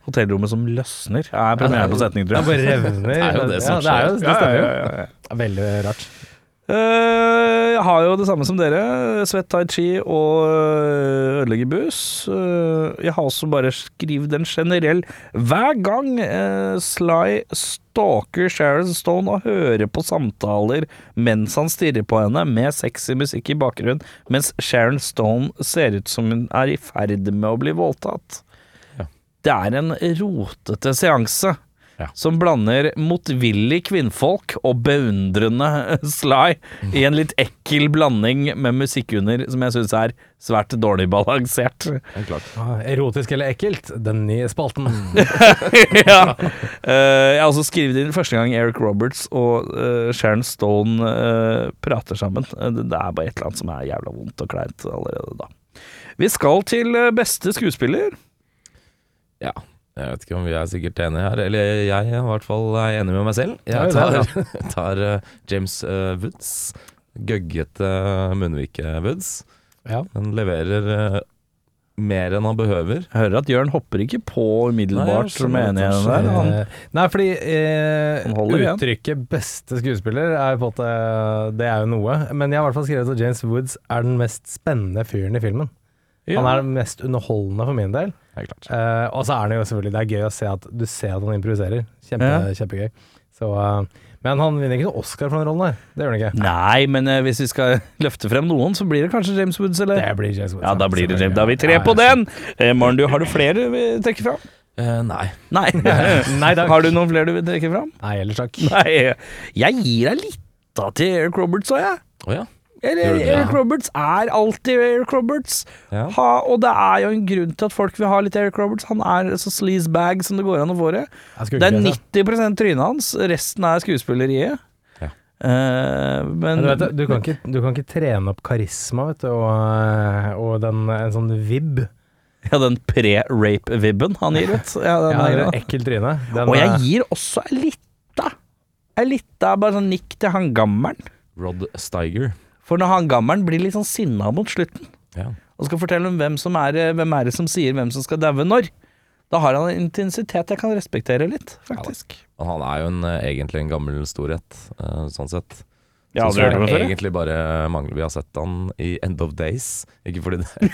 Speaker 2: Hotellrommet som løsner. Er premiere på setning,
Speaker 5: Det
Speaker 2: tror jeg.
Speaker 5: bare revner. Det
Speaker 4: er jo det
Speaker 5: Ja,
Speaker 4: som
Speaker 5: det, er jo,
Speaker 4: skjer.
Speaker 5: det stemmer jo.
Speaker 2: Ja, ja, ja,
Speaker 5: Veldig rart.
Speaker 2: Eh, jeg har jo det samme som dere. Svett tai chi og eh, ødelegger buss. Eh, jeg har også bare skrevet en generell Hver gang eh, Sly stalker Sharon Stone og hører på samtaler mens han stirrer på henne med sexy musikk i bakgrunnen, mens Sharon Stone ser ut som hun er i ferd med å bli voldtatt.
Speaker 4: Ja.
Speaker 2: Det er en rotete seanse som blander motvillig kvinnfolk og beundrende Sly i en litt ekkel blanding med musikk under, som jeg syns er svært dårlig balansert.
Speaker 4: Det er klart.
Speaker 5: Ah, Erotisk eller ekkelt? Den nye spalten.
Speaker 2: [LAUGHS] ja. Eh, jeg har også skrevet inn første gang Eric Roberts og eh, Sharon Stone eh, prater sammen. Eh, Det, det er bare et eller annet som er jævla vondt og kleint allerede da. Vi skal til eh, beste skuespiller.
Speaker 4: Ja. Jeg vet ikke om vi er sikkert enige her, eller jeg i hvert fall er enig med meg selv.
Speaker 5: Ja,
Speaker 4: Jeg
Speaker 5: det er
Speaker 4: tar, [LAUGHS] tar eh, James eh, Woods. Gøggete munnvike Woods.
Speaker 5: Ja.
Speaker 4: Han leverer eh, mer enn han behøver.
Speaker 2: Jeg hører at Jørn hopper ikke på
Speaker 4: Nei,
Speaker 2: umiddelbart
Speaker 4: jeg
Speaker 2: som enig
Speaker 4: skjønner
Speaker 2: i
Speaker 4: at
Speaker 2: det
Speaker 4: han
Speaker 2: der. Han,
Speaker 5: Eh, Nei, fordi
Speaker 2: Han
Speaker 5: eh,
Speaker 2: holder igjen.
Speaker 5: uttrykket 'beste skuespiller' er på en måte Det er jo noe. Men jeg har i hvert fall skrevet at James Woods er den mest spennende fyren i filmen. Han er den mest underholdende for min del.
Speaker 4: Det er klart.
Speaker 5: Eh, og så er han jo selvfølgelig Det er gøy å se at du ser at han improviserer. Kjempe, Kjempegøy. Så, eh, men han vinner ikke noe Oscar for den rollen der. Det gjør han ikke.
Speaker 2: Nei, men eh, hvis vi skal [LAUGHS] løfte frem noen, så blir det kanskje James Woods, eller?
Speaker 5: Det blir James Woods.
Speaker 2: ja, da blir det James. Da er vi tre
Speaker 5: Ja,
Speaker 2: på
Speaker 5: ja.
Speaker 2: den! Eh, Maren, du, har du flere du vil trekke fram?
Speaker 4: Eh, nei.
Speaker 2: Nei.
Speaker 5: [LAUGHS] Nei takk.
Speaker 2: Har du noen flere du vil trekke fram?
Speaker 5: Nei, ellers takk.
Speaker 2: Nei. eh, Jeg gir deg litt av til Eric Roberts, sa jeg.
Speaker 4: Å ja. Gjør
Speaker 2: Eller,
Speaker 4: du det?
Speaker 2: Eric Roberts er alltid Eric Roberts.
Speaker 4: Ja.
Speaker 2: Ha, og det er jo en grunn til at folk vil ha litt Eric Roberts. Han er så sleazebag som det går an å få det.
Speaker 5: Jeg skulle
Speaker 2: Det er
Speaker 5: ikke si
Speaker 2: 90 trynet hans, resten er skuespilleriet.
Speaker 4: Ja.
Speaker 2: Eh, men
Speaker 5: Men du, vet, det, du, kan ikke, du kan ikke trene opp karisma vet du, og, og den, en sånn vibb.
Speaker 2: Ja, den pre-rape-vibben han gir ut. Ja, den
Speaker 5: Ja,
Speaker 2: er
Speaker 5: det
Speaker 2: jo-
Speaker 5: er ekkelt tryne. Den,
Speaker 2: og jeg
Speaker 5: eh,
Speaker 2: gir også ei lita Ei lita bare sånn nikk til han gammelen.
Speaker 4: Rod Steiger.
Speaker 2: For når han gammelen blir litt sånn sinna mot slutten,
Speaker 4: Ja.
Speaker 2: og skal fortelle om hvem som er eh, Hvem er det som sier hvem som skal daue når, da har han en intensitet jeg kan respektere litt, faktisk.
Speaker 4: Han er jo en, eh, egentlig en gammel storhet, eh, sånn sett.
Speaker 2: Jeg har
Speaker 4: Så
Speaker 2: aldri hørt om det
Speaker 4: det
Speaker 2: før. jeg.
Speaker 4: egentlig bare mangler vi har sett han i End of Days. Ikke fordi det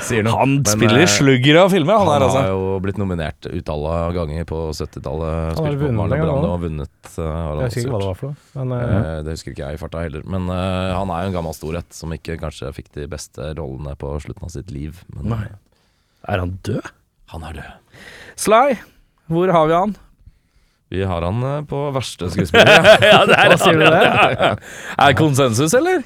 Speaker 4: sier noe.
Speaker 2: Han
Speaker 4: men, eh,
Speaker 2: spiller slugger av filmer, han
Speaker 4: Han
Speaker 2: der,
Speaker 4: har
Speaker 2: altså.
Speaker 4: jo blitt nominert utallet ganger på
Speaker 5: har
Speaker 4: 70-tallet. Spilte på
Speaker 5: vunnet
Speaker 4: Marlon
Speaker 5: en gang
Speaker 4: Brando
Speaker 5: også.
Speaker 4: og vunnet. eh, har han
Speaker 5: Jeg husker ikke
Speaker 4: også
Speaker 5: hva det
Speaker 4: gjort.
Speaker 5: var for noe. Men eh,
Speaker 4: Eh, Det husker ikke jeg i farta heller. Men eh, han er jo en gammel storhet som ikke kanskje fikk de beste rollene på slutten av sitt liv. Men eh,
Speaker 2: Nei. Er han død?
Speaker 4: han er død.
Speaker 2: Sly, hvor har vi han?
Speaker 4: Vi har han eh, på
Speaker 5: [LAUGHS]
Speaker 4: verste skuespiller. ja.
Speaker 5: hva sier du der?
Speaker 2: Er det konsensus, eller?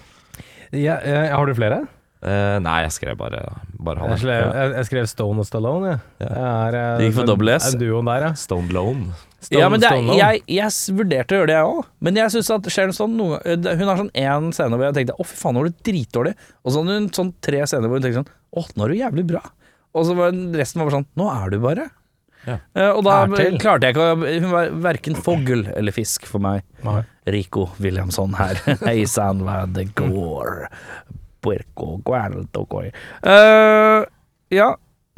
Speaker 5: Ja, eh, har du flere?
Speaker 4: Eh, nei, jeg skrev bare, bare han.
Speaker 5: Jeg skrev, jeg, jeg skrev Stone og Stallone, jeg. Det er, eh,
Speaker 2: Det gikk for
Speaker 5: den-
Speaker 2: double S.
Speaker 5: den Duoen der, ja.
Speaker 4: Stone Lone.
Speaker 5: Stone,
Speaker 2: ja, men det, er-
Speaker 5: Stone Lone.
Speaker 2: jeg, jeg s- vurderte å gjøre det, jeg òg. Men jeg syns at Sharon Stone noen, eh, det- Hun har sånn én scene hvor jeg tenkte å, fy faen, nå var du dritdårlig. Og så hadde hun sånn tre scener hvor hun tenkte sånn å, nå er du jævlig bra. Og så var resten var bare sånn nå er du bare.
Speaker 4: Ja.
Speaker 2: Eh, og da
Speaker 5: Hertil.
Speaker 2: klarte jeg ikke å Hun var verken fogl eller fisk for meg.
Speaker 5: Nei.
Speaker 2: Rico Williamson her. [LAUGHS] Hei sann, hva det går. Puerco guardo coi. Eh, ja,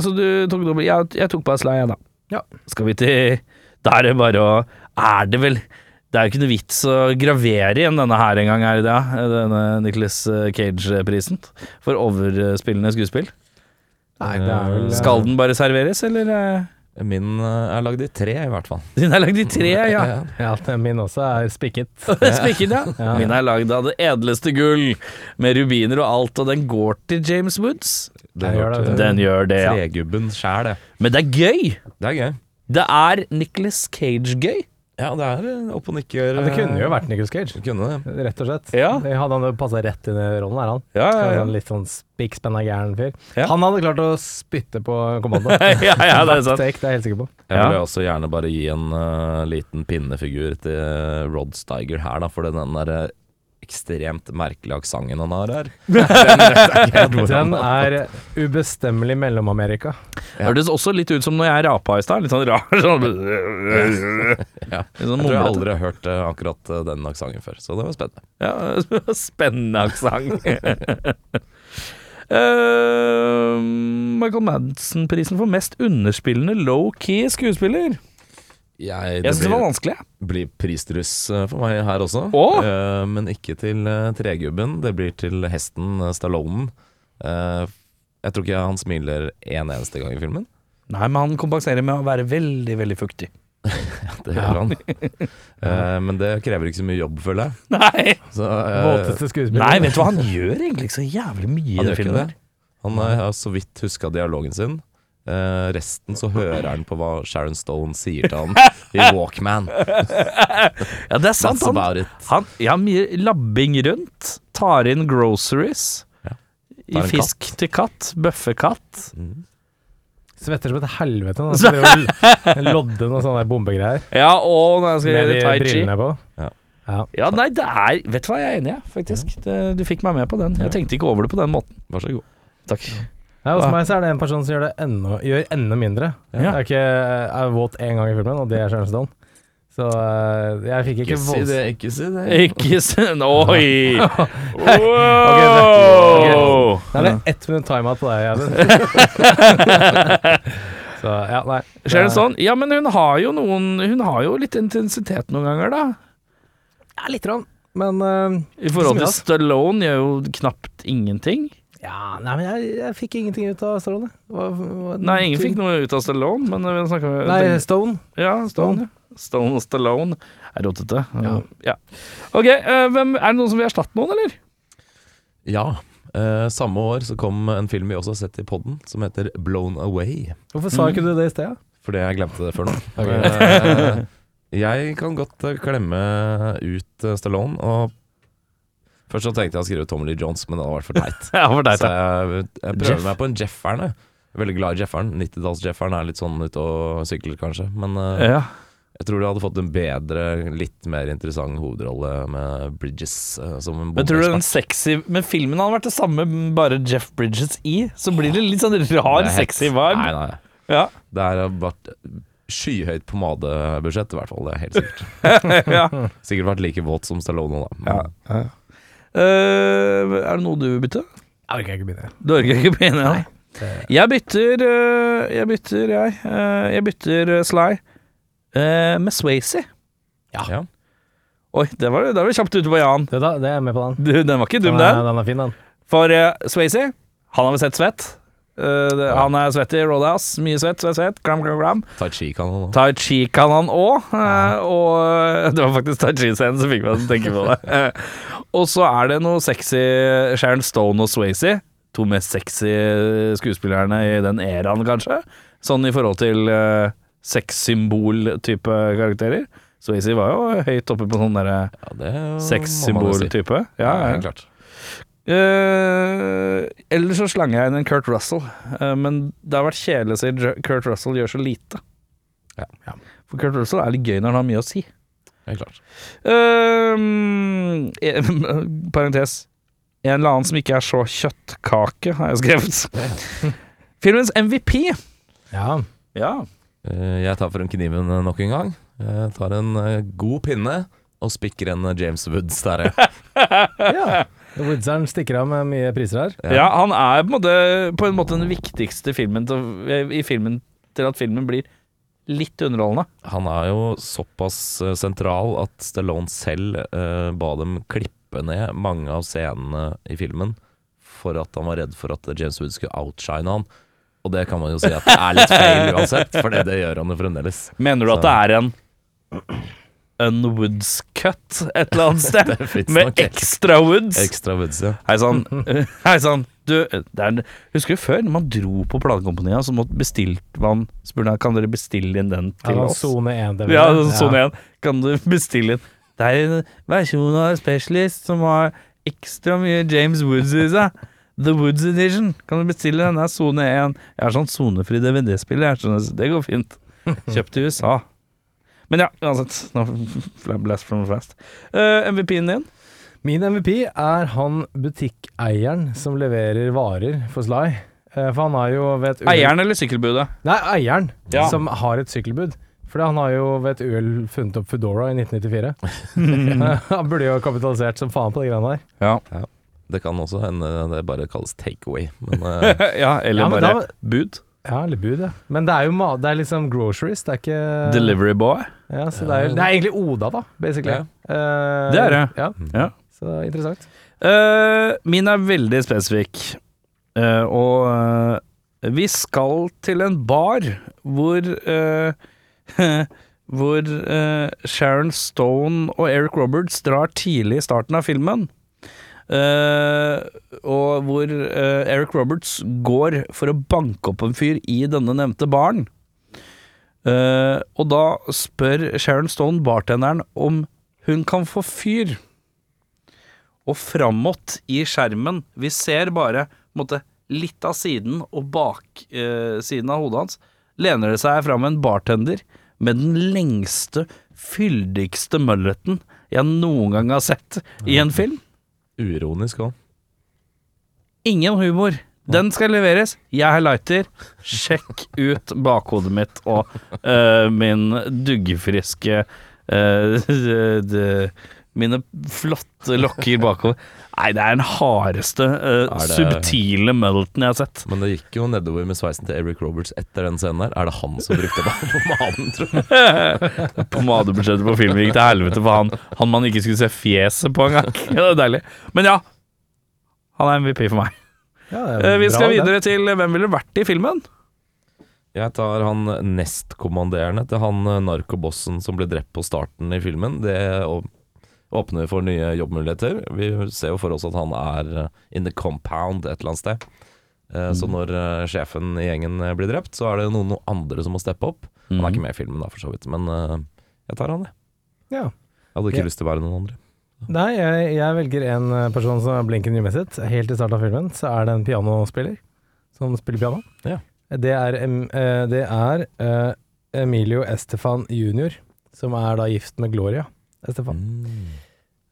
Speaker 2: så du tok dobbel Jeg, jeg tok bare Sly, jeg, da.
Speaker 5: Ja.
Speaker 2: Skal vi til Da er det bare å Er det vel Det er jo ikke noe vits å gravere igjen denne her engang, er det det? Denne Nicholas Cage-prisen for overspillende skuespill.
Speaker 5: Nei, det er vel eh,
Speaker 2: Skal den bare serveres, eller? eh?
Speaker 4: Min eh, er lagd i tre, i hvert fall.
Speaker 2: Din er lagd i tre,
Speaker 4: [LAUGHS]
Speaker 2: ja. [LAUGHS]
Speaker 5: Ja, den min også er spikket.
Speaker 2: Spikket, ja. Min er lagd av det edleste gull, med rubiner og alt, og den går til James Woods.
Speaker 4: Den
Speaker 5: Jeg gjør
Speaker 4: hørte
Speaker 5: det.
Speaker 2: Den gjør det, ja.
Speaker 4: eh, Tregubben sjæl, det.
Speaker 2: Men det er gøy!
Speaker 4: Det er gøy.
Speaker 2: Det er Nicholas Cage-gøy.
Speaker 4: Ja, det er eh, opp og nikker.
Speaker 5: Ja, det kunne jo
Speaker 4: eh,
Speaker 5: vært Nicolas Cage,
Speaker 4: Kunne det.
Speaker 5: rett og slett.
Speaker 2: Ja.
Speaker 5: Det Hadde han passa rett inn i rollen, er han.
Speaker 2: Ja, ja, ja.
Speaker 5: Sånn Litt sånn spikkspennende gæren fyr.
Speaker 2: Ja.
Speaker 5: Han hadde klart å spytte på
Speaker 2: [LAUGHS] [LAUGHS]
Speaker 5: kommando.
Speaker 2: ja, ja, det er sant.
Speaker 5: Take, det er jeg helt sikker på.
Speaker 4: Jeg
Speaker 2: Ja.
Speaker 4: vil også gjerne bare gi en eh, liten pinnefigur til eh, Rod Steiger her, da, for den der eh, ekstremt merkelige aksenten han har her.
Speaker 5: Den er ubestemmelig Mellom-Amerika.
Speaker 2: Det Hørtes også litt ut som når jeg rapa i stad. Litt sånn rar sånn,
Speaker 4: Ja. Jeg
Speaker 2: [LAUGHS] litt sånn
Speaker 4: tror
Speaker 2: mumlete.
Speaker 4: jeg aldri har hørt eh, akkurat eh, den aksenten før, så det var spennende.
Speaker 2: Ja, [LAUGHS] spennende aksent. [LAUGHS] Eh, Michael Madsen-prisen for mest underspillende low-key skuespiller.
Speaker 4: Jeg, det
Speaker 2: Jeg syns det var
Speaker 4: blir,
Speaker 2: vanskelig.
Speaker 4: blir prisdruss eh, for meg her også,
Speaker 2: Åh!
Speaker 4: Eh, men ikke til eh, tregubben. Det blir til hesten uh, Stallonen. Eh, jeg tror ikke han smiler en eneste gang i filmen.
Speaker 2: Nei, men han kompenserer med å være veldig, veldig fuktig.
Speaker 4: Det gjør han. [LAUGHS] Eh, men det krever ikke så mye jobb, føler jeg.
Speaker 2: Nei,
Speaker 4: Så, eh,
Speaker 5: Våteste skuespiller.
Speaker 2: Nei vet du hva, han gjør egentlig ikke så jævlig mye i den
Speaker 4: Han gjør ikke
Speaker 2: filmen.
Speaker 4: det. Han eh, har så vidt huska dialogen sin. Eh, resten så hører han på hva Sharon Stone sier til han
Speaker 2: [LAUGHS]
Speaker 4: i Walkman.
Speaker 2: der. Ja, det er sant. Han,
Speaker 4: That's about it.
Speaker 2: han ja, mye labbing rundt. Tar inn groceries.
Speaker 4: Tar
Speaker 2: I
Speaker 4: en
Speaker 2: fisk til katt. Bøffekatt.
Speaker 5: Svetter som et
Speaker 2: [LAUGHS]
Speaker 5: helvete når han skal drive og lodde noen sånne der bombegreier
Speaker 2: Ja, og når jeg skal
Speaker 5: med de
Speaker 2: gjøre tai chi.
Speaker 5: brillene på.
Speaker 4: Ja.
Speaker 5: Ja.
Speaker 2: Ja, nei, det er Vet du hva, jeg er enig, jeg, faktisk. Det, du fikk meg med på den. Jeg tenkte ikke over det på den måten.
Speaker 4: Vær så god.
Speaker 2: Takk.
Speaker 5: Ja, hos meg så er det en person som gjør det enda, gjør enda mindre. Jeg er ikke jeg er våt én gang i filmen, og det er Sharon Stone. Så eh, jeg fikk ikke volds...
Speaker 4: ikke si det.
Speaker 2: Ikke send Oi!
Speaker 5: Wow!
Speaker 2: Wow!
Speaker 5: Nei, det er ett minutt timeout på deg,
Speaker 2: [LAUGHS]
Speaker 5: Eivind. Så ja, nei. Det-
Speaker 2: Sharon Stone, sånn? ja, men hun har jo noen Hun har jo litt intensitet noen ganger, da.
Speaker 5: Ja, litt rann. Men eh,
Speaker 2: I forhold til
Speaker 5: Ikke så
Speaker 2: Stallone gjør jo knapt ingenting.
Speaker 5: ja, nei, men jeg, jeg fikk ingenting ut av Stallone. Det var- var-
Speaker 2: Nei, ingen fikk noe ut av Stallone, men vi snakker om
Speaker 5: Mm, Nei, Stone.
Speaker 2: Ja, Stone. ja. Stone og Stallone er rotete. Ja. Ok, eh, hvem, er det noen som vil erstatte noen, eller?
Speaker 4: Ja. Eh, samme år så kom en film vi også har sett i podden, som heter Blown Away.
Speaker 5: Hvorfor
Speaker 2: Mm.
Speaker 5: sa ikke du det i sted? da?
Speaker 4: Fordi jeg glemte det før nå. Eh, jeg kan godt eh, klemme ut eh, Stallone. Og først så tenkte jeg å skrive Tom Lee Jones, men det hadde vært for teit.
Speaker 2: Ja, for
Speaker 4: Så jeg, jeg prøver
Speaker 2: Jeff.
Speaker 4: meg på en Jefferen. jeg. Jeg er veldig glad i Jefferen. 90-talls-Jefferen er litt sånn ute og sykler, kanskje. Men eh,
Speaker 2: Ja.
Speaker 4: jeg tror du hadde fått en bedre, litt mer interessant hovedrolle med Bridges eh, som en
Speaker 2: Men tror du den
Speaker 4: bombeekspert.
Speaker 2: sexy Men filmen hadde vært det samme, bare Jeff Bridges i. Så blir det litt sånn rar,
Speaker 4: Det er helt-
Speaker 2: sexy vibe.
Speaker 4: Nei, nei.
Speaker 2: Ja,
Speaker 4: Det har vært skyhøyt pomadebudsjett, i hvert fall. Det er helt sikkert.
Speaker 2: [LAUGHS] ja.
Speaker 4: Sikkert vært like våt som Stallone, da. Men,
Speaker 2: Eh, er det noe du vil bytte?
Speaker 5: Jeg orker ikke begynne.
Speaker 2: Du orker ikke begynne? Ja. Jeg bytter, eh, jeg bytter, jeg. Eh, jeg bytter eh, Sly eh, med Swayze.
Speaker 4: ja.
Speaker 2: Oi, det var, det var kjapt ute på Jan.
Speaker 5: Det, da, det er jeg med på den.
Speaker 2: Du, den var ikke dum,
Speaker 5: Den er,
Speaker 2: den.
Speaker 5: den er fin, den.
Speaker 2: For uh, Swayze, han har vi sett svett. Eh, det, Han er svett i Roadhouse. Mye svett, svett, svett. Klam, klam, klam.
Speaker 4: Tai chi kan han òg.
Speaker 2: Tai chi kan han òg, og eh, det var faktisk tai chi-scenen som fikk meg til å tenke på det.
Speaker 4: [LAUGHS]
Speaker 2: Eh, Og så er det noe sexy Sharon Stone og Swayze. To mest sexy skuespillerne i den eraen, kanskje. Sånn i forhold til eh, sexsymbol-type karakterer. Swayze var jo høyt oppe på sånn derre
Speaker 4: Ja, det må man jo si.
Speaker 2: sexsymbol-type. Ja,
Speaker 4: Ja,
Speaker 2: ja.
Speaker 4: helt klart.
Speaker 2: Eh, Eller så slang jeg inn en Kurt Russell, eh, men det har vært kjedelig å si Jer- Kurt Russell gjør så lite.
Speaker 4: Ja. Ja.
Speaker 2: For Kurt Russell er litt gøy når han har mye å si.
Speaker 4: Helt klart.
Speaker 2: Ehm, eh, [LAUGHS] parentes. En eller annen som ikke er så kjøttkake, har jeg skrevet.
Speaker 4: [LAUGHS]
Speaker 2: Filmens MVP.
Speaker 5: Ja.
Speaker 2: Ja.
Speaker 4: Eh, Jeg tar frem kniven eh, nok en gang. Jeg tar en eh, god pinne og spikker en eh, James Woods der. [LAUGHS] ja.
Speaker 5: ja. Woodseren stikker av med mye priser her.
Speaker 2: ja, han er på en måte, på en måte den viktigste filmen til, i filmen til at filmen blir litt underholdende.
Speaker 4: Han er jo såpass eh, sentral at Stallone selv eh, ba dem klippe ned mange av scenene i filmen for at han var redd for at James Woods skulle outshine han. Og det kan man jo si at det er litt [LAUGHS] feil uansett, for det, det gjør han jo fremdeles.
Speaker 2: Mener du at det
Speaker 4: Så-
Speaker 2: er en Unwoods cut et eller
Speaker 4: [LAUGHS]
Speaker 2: annet sted?
Speaker 4: Det finnes
Speaker 2: Med
Speaker 4: nok ek-
Speaker 2: extra woods?
Speaker 4: ekstra Woods, ja.
Speaker 2: Hei sann.
Speaker 4: [LAUGHS]
Speaker 2: Hei sann. Du, det er, husker du før, når man dro på platekompaniet, så måtte bestilte man Spurte han kan dere bestille inn den
Speaker 5: Ja,
Speaker 2: til oss.
Speaker 5: Sone 1. det vil
Speaker 2: Ja,
Speaker 5: jeg.
Speaker 2: sone igjen. Kan du [LAUGHS] bestille inn Det er en versjon av Specialist som har ekstra mye James Woods i seg. The Woods Edition. Kan du bestille den? Det er sone 1. Jeg har sånn sonefri DVD-spill, jeg, så det går
Speaker 5: [LAUGHS]
Speaker 2: fint. Kjøpt i USA. Men ja, uansett. Nå [LAUGHS] blast from the fast. Eh, MVP-en din?
Speaker 5: Min MVP er han butikkeieren som leverer varer for Sly. Eh, For han har jo ved et uhell-
Speaker 2: Eieren eller sykkelbudet?
Speaker 5: Nei, eieren
Speaker 2: Ja.
Speaker 5: som har et sykkelbud. For han har jo ved et uhell funnet opp Foodora
Speaker 2: [LAUGHS]
Speaker 5: i 1994. [LAUGHS] han burde jo ha kapitalisert som faen på de greiene der.
Speaker 2: Ja.
Speaker 4: Det kan også hende det bare kalles takeaway, men [LAUGHS]
Speaker 2: [LAUGHS]
Speaker 4: eh,
Speaker 2: ja, eller
Speaker 5: Ja,
Speaker 2: bare
Speaker 5: men da-
Speaker 2: bud.
Speaker 5: Ja, eller bud, ja. Men det er jo ma det er liksom groceries, det er ikke
Speaker 2: Delivery boy.
Speaker 5: Ja, så det, er, det er egentlig Oda, da, basically.
Speaker 4: Ja.
Speaker 5: Eh,
Speaker 2: Det er det.
Speaker 5: Ja,
Speaker 2: Ja.
Speaker 5: så det er interessant.
Speaker 2: Eh, min er veldig spesifikk. Eh, og eh, vi skal til en bar hvor eh, [LAUGHS] Hvor eh, Sharon Stone og Eric Roberts drar tidlig i starten av filmen. Eh, og hvor eh, Eric Roberts går for å banke opp en fyr i denne nevnte baren. Eh, og da spør Sharon Stone bartenderen om hun kan få fyr. Og framåt i skjermen Vi ser bare på en måte, litt av siden og bak eh, siden av hodet hans Lener det seg fram en bartender Med den lengste, fyldigste mølleten Jeg noen gang har sett i en film
Speaker 4: uironisk òg.
Speaker 2: Ingen humor Den skal leveres Jeg har lighter Sjekk ut bakhodet mitt Og eh, min duggefriske eh, de- Mine flotte lokker bakover Nei, det er den hardeste eh,
Speaker 4: Er det-
Speaker 2: Subtile melten jeg har sett
Speaker 4: Men det gikk jo nedover med sveisen til Eric Roberts etter den scenen der. Er det han som brukte banen på manen, tror jeg?
Speaker 2: Pomadebudsjettet på filmen gikk til helvete For han, han man ikke skulle se fjeset på en gang [LAUGHS] Det er deilig Men ja, han er MVP for meg
Speaker 5: Ja, det er
Speaker 2: Eh, Vi
Speaker 5: bra,
Speaker 2: skal
Speaker 5: det.
Speaker 2: videre til Hvem ville vært i filmen?
Speaker 4: Jeg tar han nestkommanderende til han eh, narkobossen som ble drept på starten i filmen. Det å- åpner for nye jobbmuligheter. Vi ser jo for oss at han er eh, in the compound et eller annet sted. Eh, Så når eh, sjefen i gjengen eh, blir drept, så er det noen, noen andre som må steppe opp. Han er ikke med i filmen da, for så vidt, men eh, jeg tar han, jeg.
Speaker 5: Ja.
Speaker 4: Jeg hadde
Speaker 5: Ja.
Speaker 4: ikke lyst til å være noen andre.
Speaker 5: Nei, jeg, jeg velger en eh, person som er blinken nymettet. Helt i starten av filmen så er det en pianospiller som spiller piano.
Speaker 4: Ja.
Speaker 5: Det er, em- eh, det er eh, Emilio Estefan jr., som er da gift med Gloria
Speaker 2: Mm.
Speaker 5: Estefan.
Speaker 4: Mm.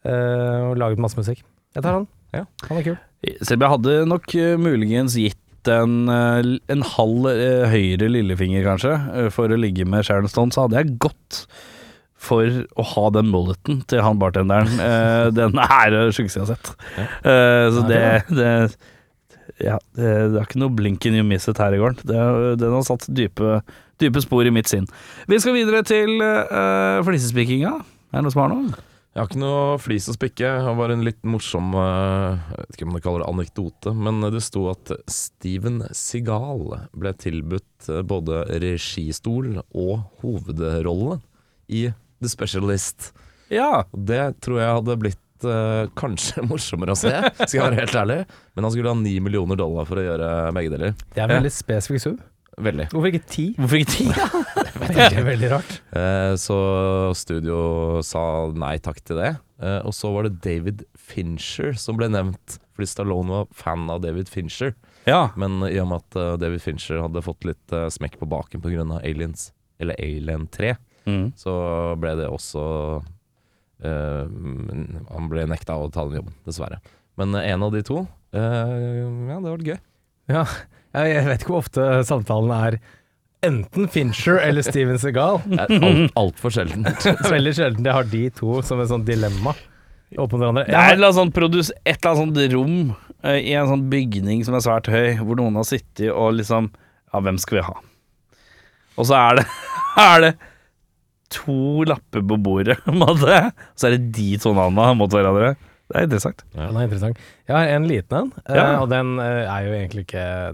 Speaker 5: Eh, og laget masse musikk. Jeg tar han.
Speaker 4: Ja.
Speaker 5: Han er kul.
Speaker 2: Selv jeg hadde nok eh, muligens gitt en, eh, en halv eh, høyre lillefinger, kanskje, eh, for å ligge med Sharon Stone, så hadde jeg gått for å ha den mulleten til han [LAUGHS] bartenderen. Eh, Den er det sjukeste jeg har sett. Eh, Så det, det ja, det, det er ikke noe blink in you miss it her i gården. Det, den har satt dype, dype spor i mitt sinn. Vi skal videre til uh, flisespikkinga. eh, Er det noen som har noe?
Speaker 4: Jeg har ikke noe flis å spikke. Det var en litt morsom eh, Jeg vet ikke om man kaller det anekdote, men det sto at Steven Segal ble tilbudt eh, både registol og hovedrolle i The Specialist.
Speaker 2: Ja.
Speaker 4: Og Det tror jeg hadde blitt eh, kanskje [LAUGHS] morsommere å se, skal jeg være helt ærlig. Men han skulle ha ni millioner dollar for å gjøre begge deler.
Speaker 5: Det er en veldig spesifikk sum.
Speaker 4: Veldig.
Speaker 5: Hvorfor ikke ti?
Speaker 2: Hvorfor ikke ti?
Speaker 5: Det er veldig rart.
Speaker 4: Eh, Så studio sa nei takk til det. Eh, Og så var det David Fincher som ble nevnt, fordi Stallone var fan av David Fincher.
Speaker 2: Ja.
Speaker 4: Men i og med at eh, David Fincher hadde fått litt eh, smekk på baken pga. Aliens, eller Alien 3,
Speaker 2: Mm.
Speaker 4: så ble det også eh, Han ble nekta å ta den jobben, dessverre. Men eh, en av de to eh, Ja, det var gøy.
Speaker 5: Ja, jeg jeg vet ikke hvor ofte samtalen er enten Fincher eller Steven Segal.
Speaker 4: Det er alt- Altfor sjelden.
Speaker 5: Det er veldig sjelden jeg har de to som et sånt dilemma opp mot hverandre.
Speaker 2: Det er et eller annet sånt produs, et eller annet sånt rom eh, i en sånn bygning som er svært høy, hvor noen har sittet og liksom Ja, hvem skal vi ha? Og så er det, [LAUGHS] er det to lapper på bordet, på en måte. Så er det de to navnene mot hverandre. Det er interessant.
Speaker 5: Ja, Den er interessant. Jeg har en liten en, eh,
Speaker 2: Ja.
Speaker 5: og den eh, er jo egentlig ikke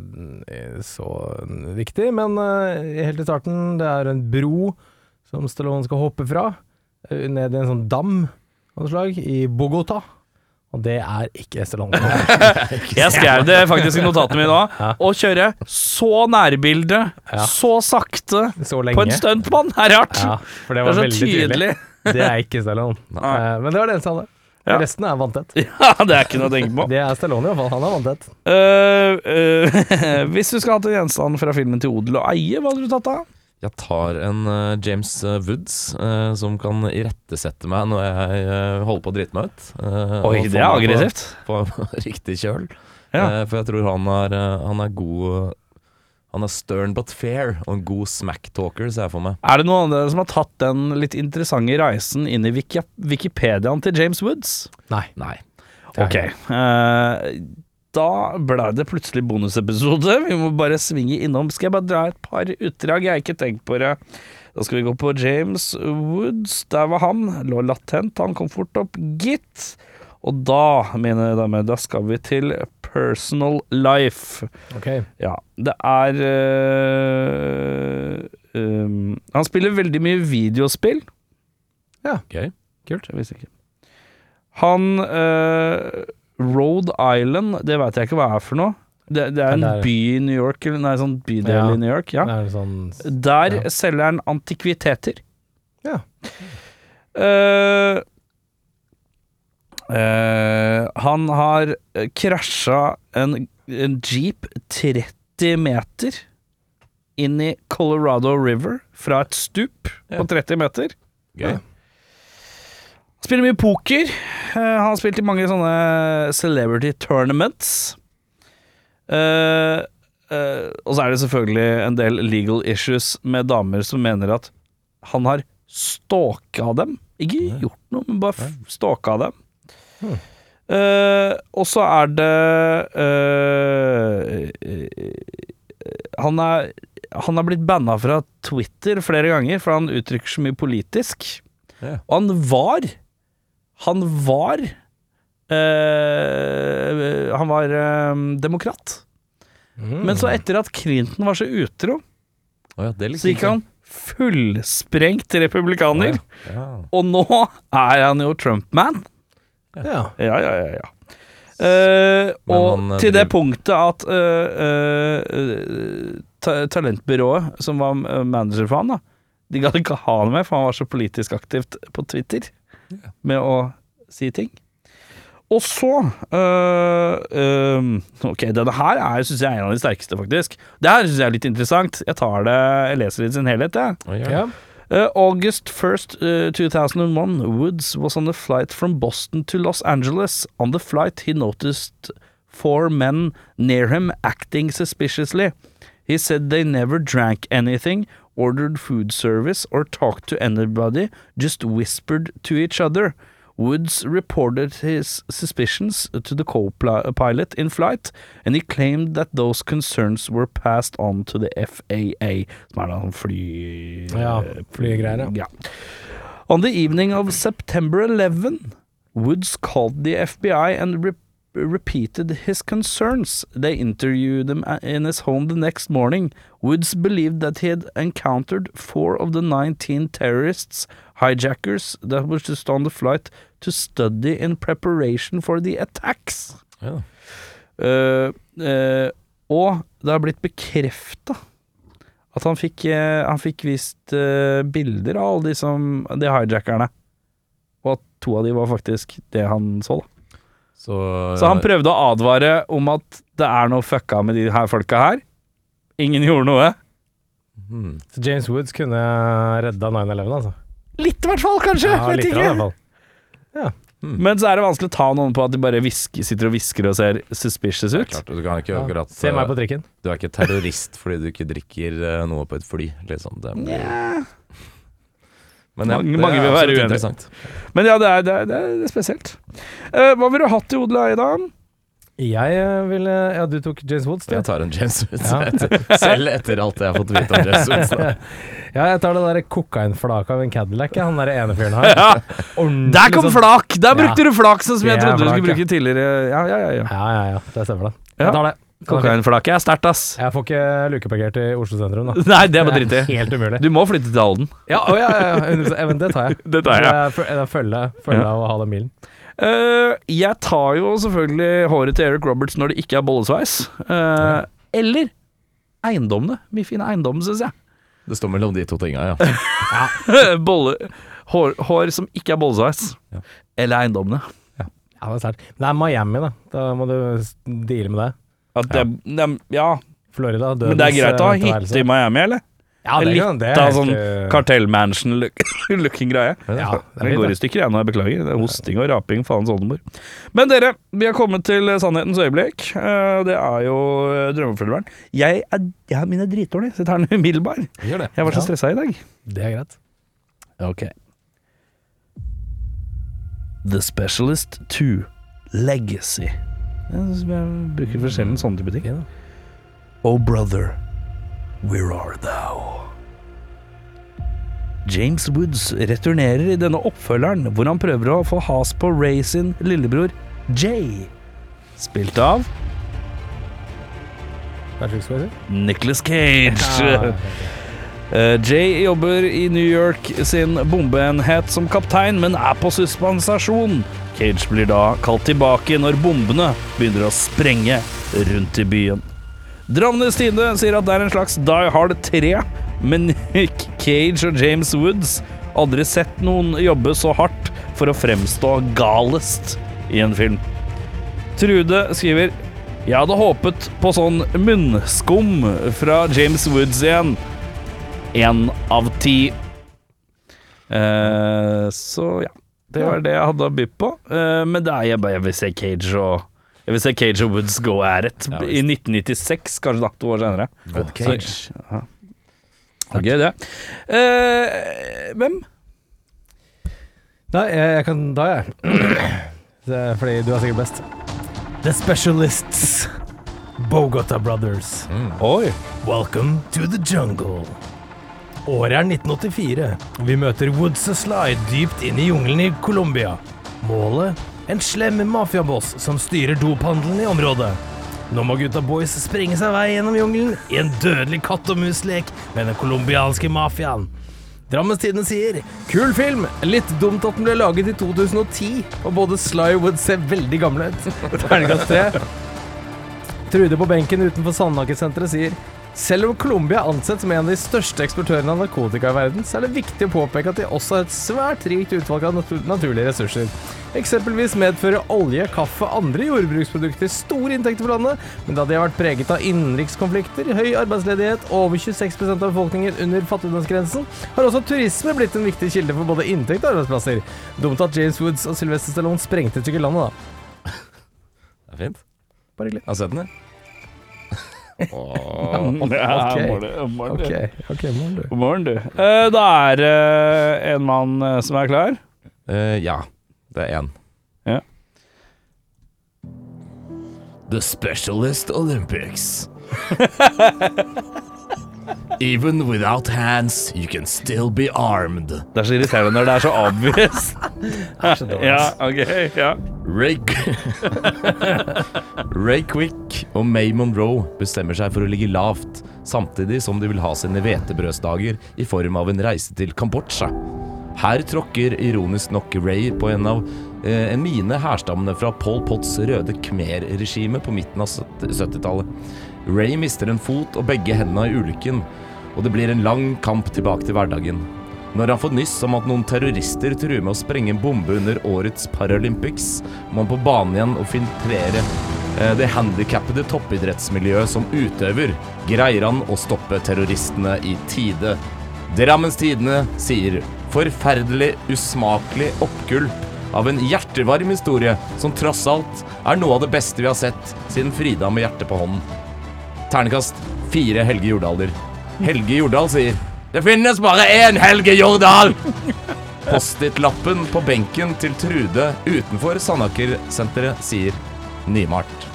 Speaker 5: eh, så viktig, men eh, helt i starten, det er en bro som Stallone skal hoppe fra, eh, ned i en sånn dam av noe slag, i Bogotá. Og det er ikke Stallone.
Speaker 2: Jeg skrev det faktisk i notatene mine nå. Å kjøre så nærbilde, så sakte,
Speaker 5: så
Speaker 2: på en
Speaker 5: lenge.
Speaker 2: stuntmann er rart.
Speaker 5: Ja, for det
Speaker 2: Det
Speaker 5: var
Speaker 2: er så
Speaker 5: veldig tydelig.
Speaker 2: tydelig.
Speaker 5: Det er ikke Stallone.
Speaker 4: Nei.
Speaker 5: Eh, Men det var det eneste han hadde.
Speaker 2: Ja.
Speaker 5: Resten er vanntett.
Speaker 2: [LAUGHS] Ja, det er ikke noe å tenke på.
Speaker 5: Det er Stallone i hvert fall. Han er vanntett.
Speaker 2: Eh, eh, [LAUGHS] hvis du skulle hatt en gjenstand fra filmen til odel og eie, hva hadde du tatt da?
Speaker 4: Jeg tar en eh, James eh, Woods eh, som kan irettesette meg når jeg eh, holder på å drite meg ut. eh, og få meg på- På, [LAUGHS] riktig kjøl.
Speaker 2: Ja.
Speaker 4: Eh, for jeg tror han er, eh, han er god Han er stern but fair og en god smack-talker, ser jeg for meg.
Speaker 2: Er det noen andre som har tatt den litt interessante reisen inn i Wiki Wikipediaen til James Woods?
Speaker 5: Nei.
Speaker 2: Ok. eh, da ble det plutselig bonusepisode. [LAUGHS] Vi må bare svinge innom. Skal jeg bare dra et par utdrag? Jeg har ikke tenkt på det. Da skal vi gå på James Woods. Der var han. Lå latent. Han kom fort opp. Gitt. Og da, mine damer, da skal vi til personal life.
Speaker 5: Ok.
Speaker 2: Ja, det er øh, øhm, Han spiller veldig mye videospill.
Speaker 4: Gøy.
Speaker 2: Kult, jeg visste ikke. Han øh, Rhode Island, det veit jeg ikke hva er for noe. Det, det er en
Speaker 5: Det er-
Speaker 2: by i New York, eller nei, sånn bydel
Speaker 5: Ja.
Speaker 2: i New York. Ja.
Speaker 5: Det er sånn
Speaker 2: Der
Speaker 5: Ja.
Speaker 2: selger han antikviteter.
Speaker 5: Ja.
Speaker 2: Eh, eh, han har eh, krasja en, en jeep 30 meter inn i Colorado River fra et stup på 30 meter.
Speaker 4: Gøy.
Speaker 2: Han Spiller mye poker. Eh, han har spilt i mange sånne celebrity tournaments. Eh, eh, og så er det selvfølgelig en del legal issues med damer som mener at han har stalka dem. Ikke gjort noe, men bare f- stalka dem. Eh, og så er det eh, eh, han, er, han er blitt banna fra Twitter flere ganger, for han uttrykker så mye politisk. Og han var Han var eh, Han var eh, demokrat. Men så etter at Clinton var så utro,
Speaker 4: Å ja, det likte
Speaker 2: så gikk
Speaker 4: jeg
Speaker 2: han fullsprengt republikaner.
Speaker 4: ikke. Ja.
Speaker 2: Og nå er han jo Trump-man.
Speaker 5: Ja.
Speaker 2: Ja, ja, ja, ja. Eh,
Speaker 4: Men
Speaker 2: og
Speaker 4: han, eh,
Speaker 2: til det
Speaker 4: driv-
Speaker 2: punktet at eh, eh, ta talentbyrået som var eh, manager for han, da, de gadd ikke ha han med, for han var så politisk aktivt på Twitter med å si ting. Og så eh, eh, Ok, denne her er, synes jeg er en av de sterkeste, faktisk. Det her syns jeg er litt interessant. Jeg tar det, jeg leser det i sin helhet, jeg.
Speaker 4: Å, ja.
Speaker 5: Ja.
Speaker 2: Uh, August 1st, uh, 2001, Woods was on a flight from Boston to Los Angeles. On the flight, he noticed four men near him acting suspiciously. He said they never drank anything, ordered food service, or talked to anybody, just whispered to each other. Woods reported his suspicions to the co pilot in flight, and he claimed that those concerns were passed on to the FAA. Som er da en fly...
Speaker 5: Ja, flygreier, ja.
Speaker 2: Ja. On the evening of September 11, Woods called the FBI and re- repeated his concerns. They interviewed him a- in his home the next morning. Woods believed that he had encountered four of the 19 terrorists hijackers that was just on the flight to study in preparation for the attacks.
Speaker 4: Ja.
Speaker 2: Eh, eh, og det har blitt bekrefta at han fikk, eh, han fikk vist eh, bilder av alle de, som, de hijackerne. Og at to av de var faktisk det han så. Da.
Speaker 4: Så,
Speaker 2: Så han prøvde å advare om at det er noe fucka med de her folka her. Ingen gjorde noe.
Speaker 4: hmm.
Speaker 5: Så James Woods kunne redda 9-11, altså.
Speaker 2: Litt i hvert fall, kanskje.
Speaker 5: Ja,
Speaker 2: vet
Speaker 5: litt, i
Speaker 2: ikke.
Speaker 5: hvert fall. Mm.
Speaker 2: Men så er det vanskelig å ta noen på at de bare hvisker, sitter og hvisker og ser suspicious ut.
Speaker 4: Klart, du kan ikke
Speaker 5: Ja.
Speaker 4: akkurat eh,
Speaker 5: Se meg på trikken.
Speaker 4: Du er ikke terrorist fordi du ikke drikker eh, noe på et fly, liksom. Det blir- Men
Speaker 2: Mange-
Speaker 4: det
Speaker 2: mange
Speaker 4: er
Speaker 2: vil være
Speaker 4: absolutt
Speaker 2: uenige.
Speaker 4: interessant.
Speaker 2: Men ja, det er, det er, det er spesielt. Eh, hva ville du hatt i odel og eie, da?
Speaker 5: Mm. Jeg eh, ville Ja, du tok James Woods, du?
Speaker 4: Jeg tar en James Woods,
Speaker 5: Ja.
Speaker 4: etter, selv etter alt jeg har fått vite om James Woods. [LAUGHS] da.
Speaker 5: Ja, jeg tar det der kokainflaket av en Cadillac, jeg, han der ene fyren
Speaker 2: [LAUGHS]
Speaker 5: her. Ordentlig
Speaker 2: Der kom
Speaker 5: sånn-
Speaker 2: flak! Der brukte
Speaker 5: Ja.
Speaker 2: du flak, sånn som jeg
Speaker 5: Det er
Speaker 2: trodde du skulle
Speaker 5: flak, ja.
Speaker 2: bruke tidligere. Ja, ja, ja, ja.
Speaker 5: Ja, ja, ja. Det stemmer, det.
Speaker 2: Ja.
Speaker 5: Jeg tar det.
Speaker 2: Kokainflaket er sterkt, ass.
Speaker 5: Jeg får ikke lukeparkert i Oslo sentrum, da.
Speaker 2: Nei, det må drite i.
Speaker 5: Helt umulig.
Speaker 2: Du må flytte til Halden.
Speaker 5: Ja, å, ja, ja, ja, 100%. Ja, men det tar jeg.
Speaker 2: [LAUGHS] Det tar jeg.
Speaker 5: Så jeg følger følger av å ha den bilen.
Speaker 2: Eh, jeg tar jo selvfølgelig håret til Eric Roberts når det ikke er bollesveis. Eh, eller eiendommene. Mye fine eiendommer, syns jeg. [LAUGHS]
Speaker 4: Det står mellom de to tinga, ja.
Speaker 2: Bolle, hår, hår som ikke er bollesveis.
Speaker 4: Ja.
Speaker 2: Eller eiendommene.
Speaker 5: Ja, det er sterkt. Men det er Miami, da. Da må du s- deale med det.
Speaker 2: At det, dem- ja,
Speaker 5: Florida, dødens
Speaker 2: men det er greit å ha
Speaker 5: eh, tilværelse.
Speaker 2: hytte i Miami, eller?
Speaker 5: Ja, det
Speaker 2: Litt
Speaker 5: kan- det er
Speaker 2: av
Speaker 5: helt,
Speaker 2: sånn
Speaker 5: eh,
Speaker 2: [LAUGHS] kartellmansion-looking greie.
Speaker 5: Ja, det er
Speaker 2: Det
Speaker 5: fint,
Speaker 2: går
Speaker 5: da.
Speaker 2: i stykker, jeg nå. Jeg beklager. Det er hosting og raping, faens oldemor. Men dere, vi har kommet til sannhetens øyeblikk. Eh, Det er jo eh, drømmefølgeren. Jeg er, jeg er mine dritdårlig, så jeg tar den umiddelbar.
Speaker 4: Gjør det.
Speaker 2: Jeg var så
Speaker 5: Ja.
Speaker 2: stressa i dag.
Speaker 5: Det er greit.
Speaker 2: Ok. The Specialist 2 Legacy. Jeg bruker for sjelden sånne type ting. Oh brother, where are thou? James Woods returnerer i denne oppfølgeren, hvor han prøver å få has på Ray sin lillebror Jay. Spilt av
Speaker 5: Kanskje vi skal si.
Speaker 2: Nicholas Cage.
Speaker 5: Ja.
Speaker 2: [LAUGHS] Eh, Jay jobber i New York sin bombeenhet som kaptein, men er på suspensasjon. Cage blir da kalt tilbake når bombene begynner å sprenge rundt i byen. Drammens Tidende sier at det er en slags Die Hard 3, men Nick Cage og James Woods aldri sett noen jobbe så hardt for å fremstå galest i en film. Trude skriver Jeg hadde håpet på sånn munnskum fra James Woods igjen. Én av ti. Eh, så ja. Det var det jeg hadde å by på. Eh, men det er jeg bare Jeg vil se Cage og Jeg vil se Cage og Woods go at it.
Speaker 4: Ja,
Speaker 2: I 1996, kanskje da, to år senere.
Speaker 4: Good
Speaker 2: Cage. Det er gøy, det. Eh, hvem?
Speaker 5: Nei, jeg, jeg kan da, jeg. [CLEARS THROAT] Det er Fordi du er sikkert best. The Specialists. Bogota Brothers.
Speaker 2: Oi.
Speaker 5: Welcome to the jungle. Året er 1984, og vi møter Woods og Sly dypt inn i jungelen i Colombia. Målet? En slem mafiaboss som styrer dophandelen i området. Nå må gutta boys sprenge seg vei gjennom jungelen i en dødelig katt og mus-lek med den colombianske mafiaen. Drammens Tidende sier Kul film! Litt dumt at den ble laget i 2010, og både Sly og Woods ser veldig gamle ut. [LAUGHS] Terningkast tre. Trude på benken utenfor Sandhagesenteret sier selv om Colombia er ansett som en av de største eksportørene av narkotika i verden, så er det viktig å påpeke at de også har et svært rikt utvalg av natu naturlige ressurser. Eksempelvis medfører olje, kaffe og andre jordbruksprodukter store inntekter for landet, men da de har vært preget av innenrikskonflikter, høy arbeidsledighet og over 26 av befolkningen under fattigdomsgrensen, har også turisme blitt en viktig kilde for både inntekt og arbeidsplasser. Dumt at James Woods og Sylvester Stallone sprengte et stykke landet, da.
Speaker 4: Det er fint.
Speaker 5: Bare hyggelig.
Speaker 4: Har du sett den, eller? Åh.
Speaker 2: Mm. [LAUGHS]
Speaker 5: ok.
Speaker 2: morgen,
Speaker 5: Ok, ok, må du.
Speaker 2: God morgen, du. Eh, da er det en mann eh, som er klar.
Speaker 4: Eh, ja, det er én.
Speaker 2: Ja.
Speaker 4: [LAUGHS] The Specialist Olympics. Even without hands, you can still be armed.
Speaker 2: Det er så irriterende når det er så obvious. [LAUGHS] ja, ok, ja.
Speaker 4: Ray, [LAUGHS] Ray Quick og May Monroe bestemmer seg for å ligge lavt, samtidig som de vil ha sine hvetebrødsdager i form av en reise til Kambodsja. Her tråkker ironisk nok Ray på en av eh, en mine herstammene fra Pol Pots røde khmer-regime på midten av 70-tallet. Ray mister en fot og begge hendene i ulykken, og det blir en lang kamp tilbake til hverdagen. Når han får nyss om at noen terrorister truer med å sprenge en bombe under årets Paralympics, må han på banen igjen og filtrere eh, det handikappede toppidrettsmiljøet som utøver. Greier han å stoppe terroristene i tide? Drammens Tidende sier forferdelig, usmakelig oppgulp av en hjertevarm historie som tross alt er noe av det beste vi har sett siden Frida med hjertet på hånden. Ternekast fire Helge Jordaler. Helge Jordal sier Det finnes bare én Helge Jordal! [LAUGHS] Post-it-lappen på benken til Trude utenfor Sandaker-senteret sier nymalt.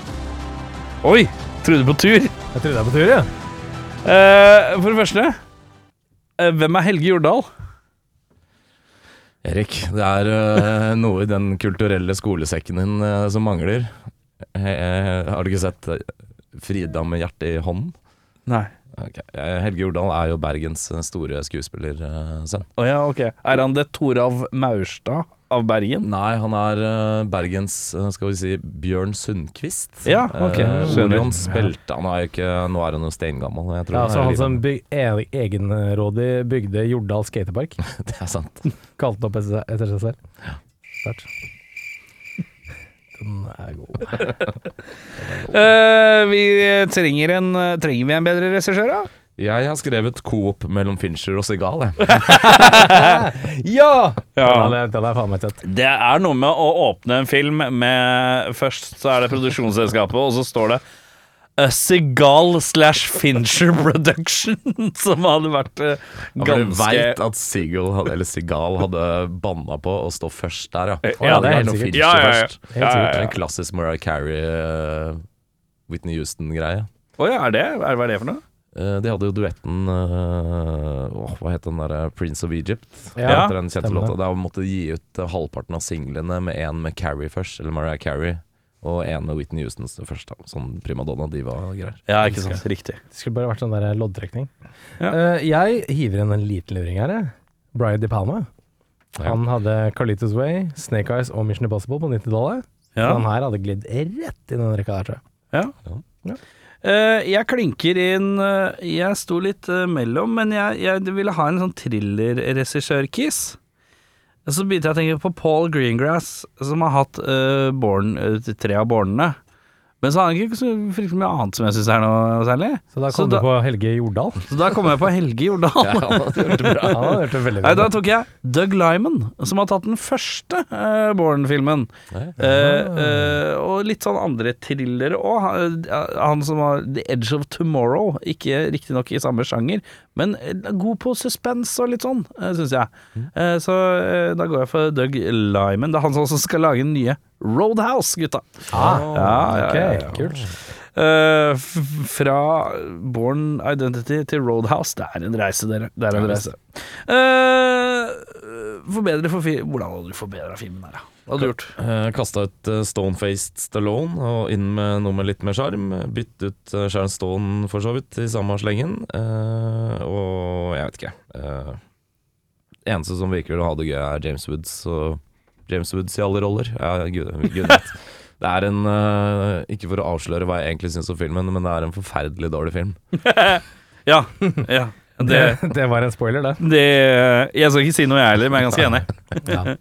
Speaker 2: Oi, trodde på tur.
Speaker 5: Jeg trodde jeg var på tur, jeg.
Speaker 2: Eh, for det første, eh, hvem er Helge Jordal?
Speaker 4: Erik, det er eh, noe i den kulturelle skolesekken din eh, som mangler. Eh, eh, har du ikke sett eh, Frida med hjertet i hånden?
Speaker 2: Nei.
Speaker 4: Ok, eh, Helge Jordal er jo Bergens eh, store eh, skuespillersønn.
Speaker 2: Å ja, ok. Er han det Torav Maurstad av Bergen?
Speaker 4: Nei, han er eh, Bergens, eh, skal vi si, Bjørn Sundquist.
Speaker 2: Ja, ok,
Speaker 4: Eh,
Speaker 2: skjønner.
Speaker 4: Orion spilte Han er jo ikke Nå er han jo steingammel. Jeg tror
Speaker 5: Ja, så
Speaker 4: er
Speaker 5: han
Speaker 4: litt-
Speaker 5: som byg e- egenrådig bygde Jordal skatepark,
Speaker 4: [LAUGHS] Det er sant.
Speaker 5: kalte den opp etter seg- etter seg selv. Sterkt. Den er god.
Speaker 2: Eh, vi trenger en Trenger vi en bedre regissør, da?
Speaker 4: Jeg har skrevet Coop mellom Fincher og Sigal, jeg.
Speaker 5: Ja!
Speaker 2: Ja.
Speaker 5: Den er, den er faen meg tett.
Speaker 2: Det er noe med å åpne en film med Først så er det produksjonsselskapet, og så står det A Seagal slash Fincher Production, [LAUGHS] som hadde vært eh,
Speaker 4: For Du
Speaker 2: ganske
Speaker 4: veit at Sigal hadde, eller Sigal hadde banna på å stå først der, ja.
Speaker 2: Ja,
Speaker 5: det er helt
Speaker 4: noe
Speaker 5: sikkert.
Speaker 4: Fincher
Speaker 2: Ja, ja, ja.
Speaker 4: først.
Speaker 2: Ja, ja,
Speaker 4: Det er
Speaker 2: ja.
Speaker 4: en klassisk Mariah Carey, eh, Whitney Houston-greie.
Speaker 2: Å ja, er det? Er, hva er det for noe?
Speaker 4: Eh, de hadde jo duetten eh, åh, Hva het den derre Prince of Egypt?
Speaker 5: Ja,
Speaker 4: Etter den kjente
Speaker 5: stemmer det.
Speaker 4: låta. Da måtte de gi ut eh, halvparten av singlene med en med Carrie først, eller Mariah Carey. Og en med Whitney Houston først, da. Sånn [LAUGHS] primadonna-diva-greier.
Speaker 2: Ja, ikke sant. Riktig.
Speaker 5: Det skulle bare vært sånn der loddtrekning.
Speaker 2: Ja.
Speaker 5: Eh, jeg hiver inn en liten luring her, jeg. Brian De Palma. Han hadde Carlitos Way, Snake Eyes og Mission Impossible på 90-tallet.
Speaker 2: Ja.
Speaker 5: Han her hadde glidd rett i den rekka der, tror jeg.
Speaker 2: Ja.
Speaker 5: Ja.
Speaker 2: Eh, jeg klinker inn eh, Jeg sto litt eh, mellom, men jeg, jeg ville ha en sånn thriller-regissør-kiss. Og Så begynte jeg å tenke på Paul Greengrass, som har hatt eh, Bourne, eh, tre av Bornene. Men så har han ikke så fryktelig mye annet som jeg syns er noe særlig.
Speaker 5: Så da kom
Speaker 2: Så
Speaker 5: du
Speaker 2: da-
Speaker 5: på Helge
Speaker 2: [LAUGHS]
Speaker 5: Jordal.
Speaker 2: Så da kom jeg på Helge
Speaker 5: [LAUGHS]
Speaker 2: Jordal.
Speaker 5: Han hadde hørt det veldig
Speaker 2: Nei, da
Speaker 5: bra.
Speaker 2: tok jeg Doug Lyman, som har tatt den første uh, Born-filmen. Eh, eh, og litt sånn andre thrillere òg. Han, han som var The Edge of Tomorrow, ikke riktignok i samme sjanger, men eh, god på suspens og litt sånn, uh, syns jeg. Eh, så eh, da går jeg for Doug Lyman. Det er han som også skal lage den nye Roadhouse, gutta.
Speaker 5: Ah,
Speaker 2: Ja, ja,
Speaker 5: ok,
Speaker 2: ja, ja.
Speaker 5: kult.
Speaker 2: Eh, f- fra Born Identity til Roadhouse. Det er en reise, dere. Det er en reise. Eh, forbedre for fi Hvordan hadde du forbedra filmen her, da? Hva hadde du gjort?
Speaker 4: Uh, Kasta ut eh, Stone-faced Stallone og inn med noe med litt mer sjarm. Bytte ut eh, Sharon Stone for så vidt i samme slengen. eh, og jeg vet ikke. eh, eneste som virker å ha det gøy, er James Woods. Og James Woods i alle roller. Ja, gud, gud vet. Det er en eh, Ikke for å avsløre hva jeg egentlig syns om filmen, men det er en forferdelig dårlig film.
Speaker 2: Ja, [LAUGHS] ja. Det,
Speaker 5: Det, [LAUGHS] det var en spoiler, det.
Speaker 2: det Jeg skal ikke si noe, jeg heller, men jeg er ganske enig.
Speaker 5: Eh,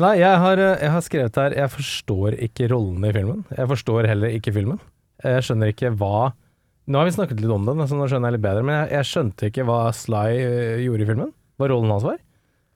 Speaker 5: nei, jeg har, eh, jeg har skrevet her Jeg forstår ikke rollene i filmen. Jeg forstår heller ikke filmen. Eh, Jeg skjønner ikke hva Nå har vi snakket litt om den, så nå skjønner jeg litt bedre, men jeg, jeg skjønte ikke hva Sly eh, gjorde i filmen. Hva rollen hans var.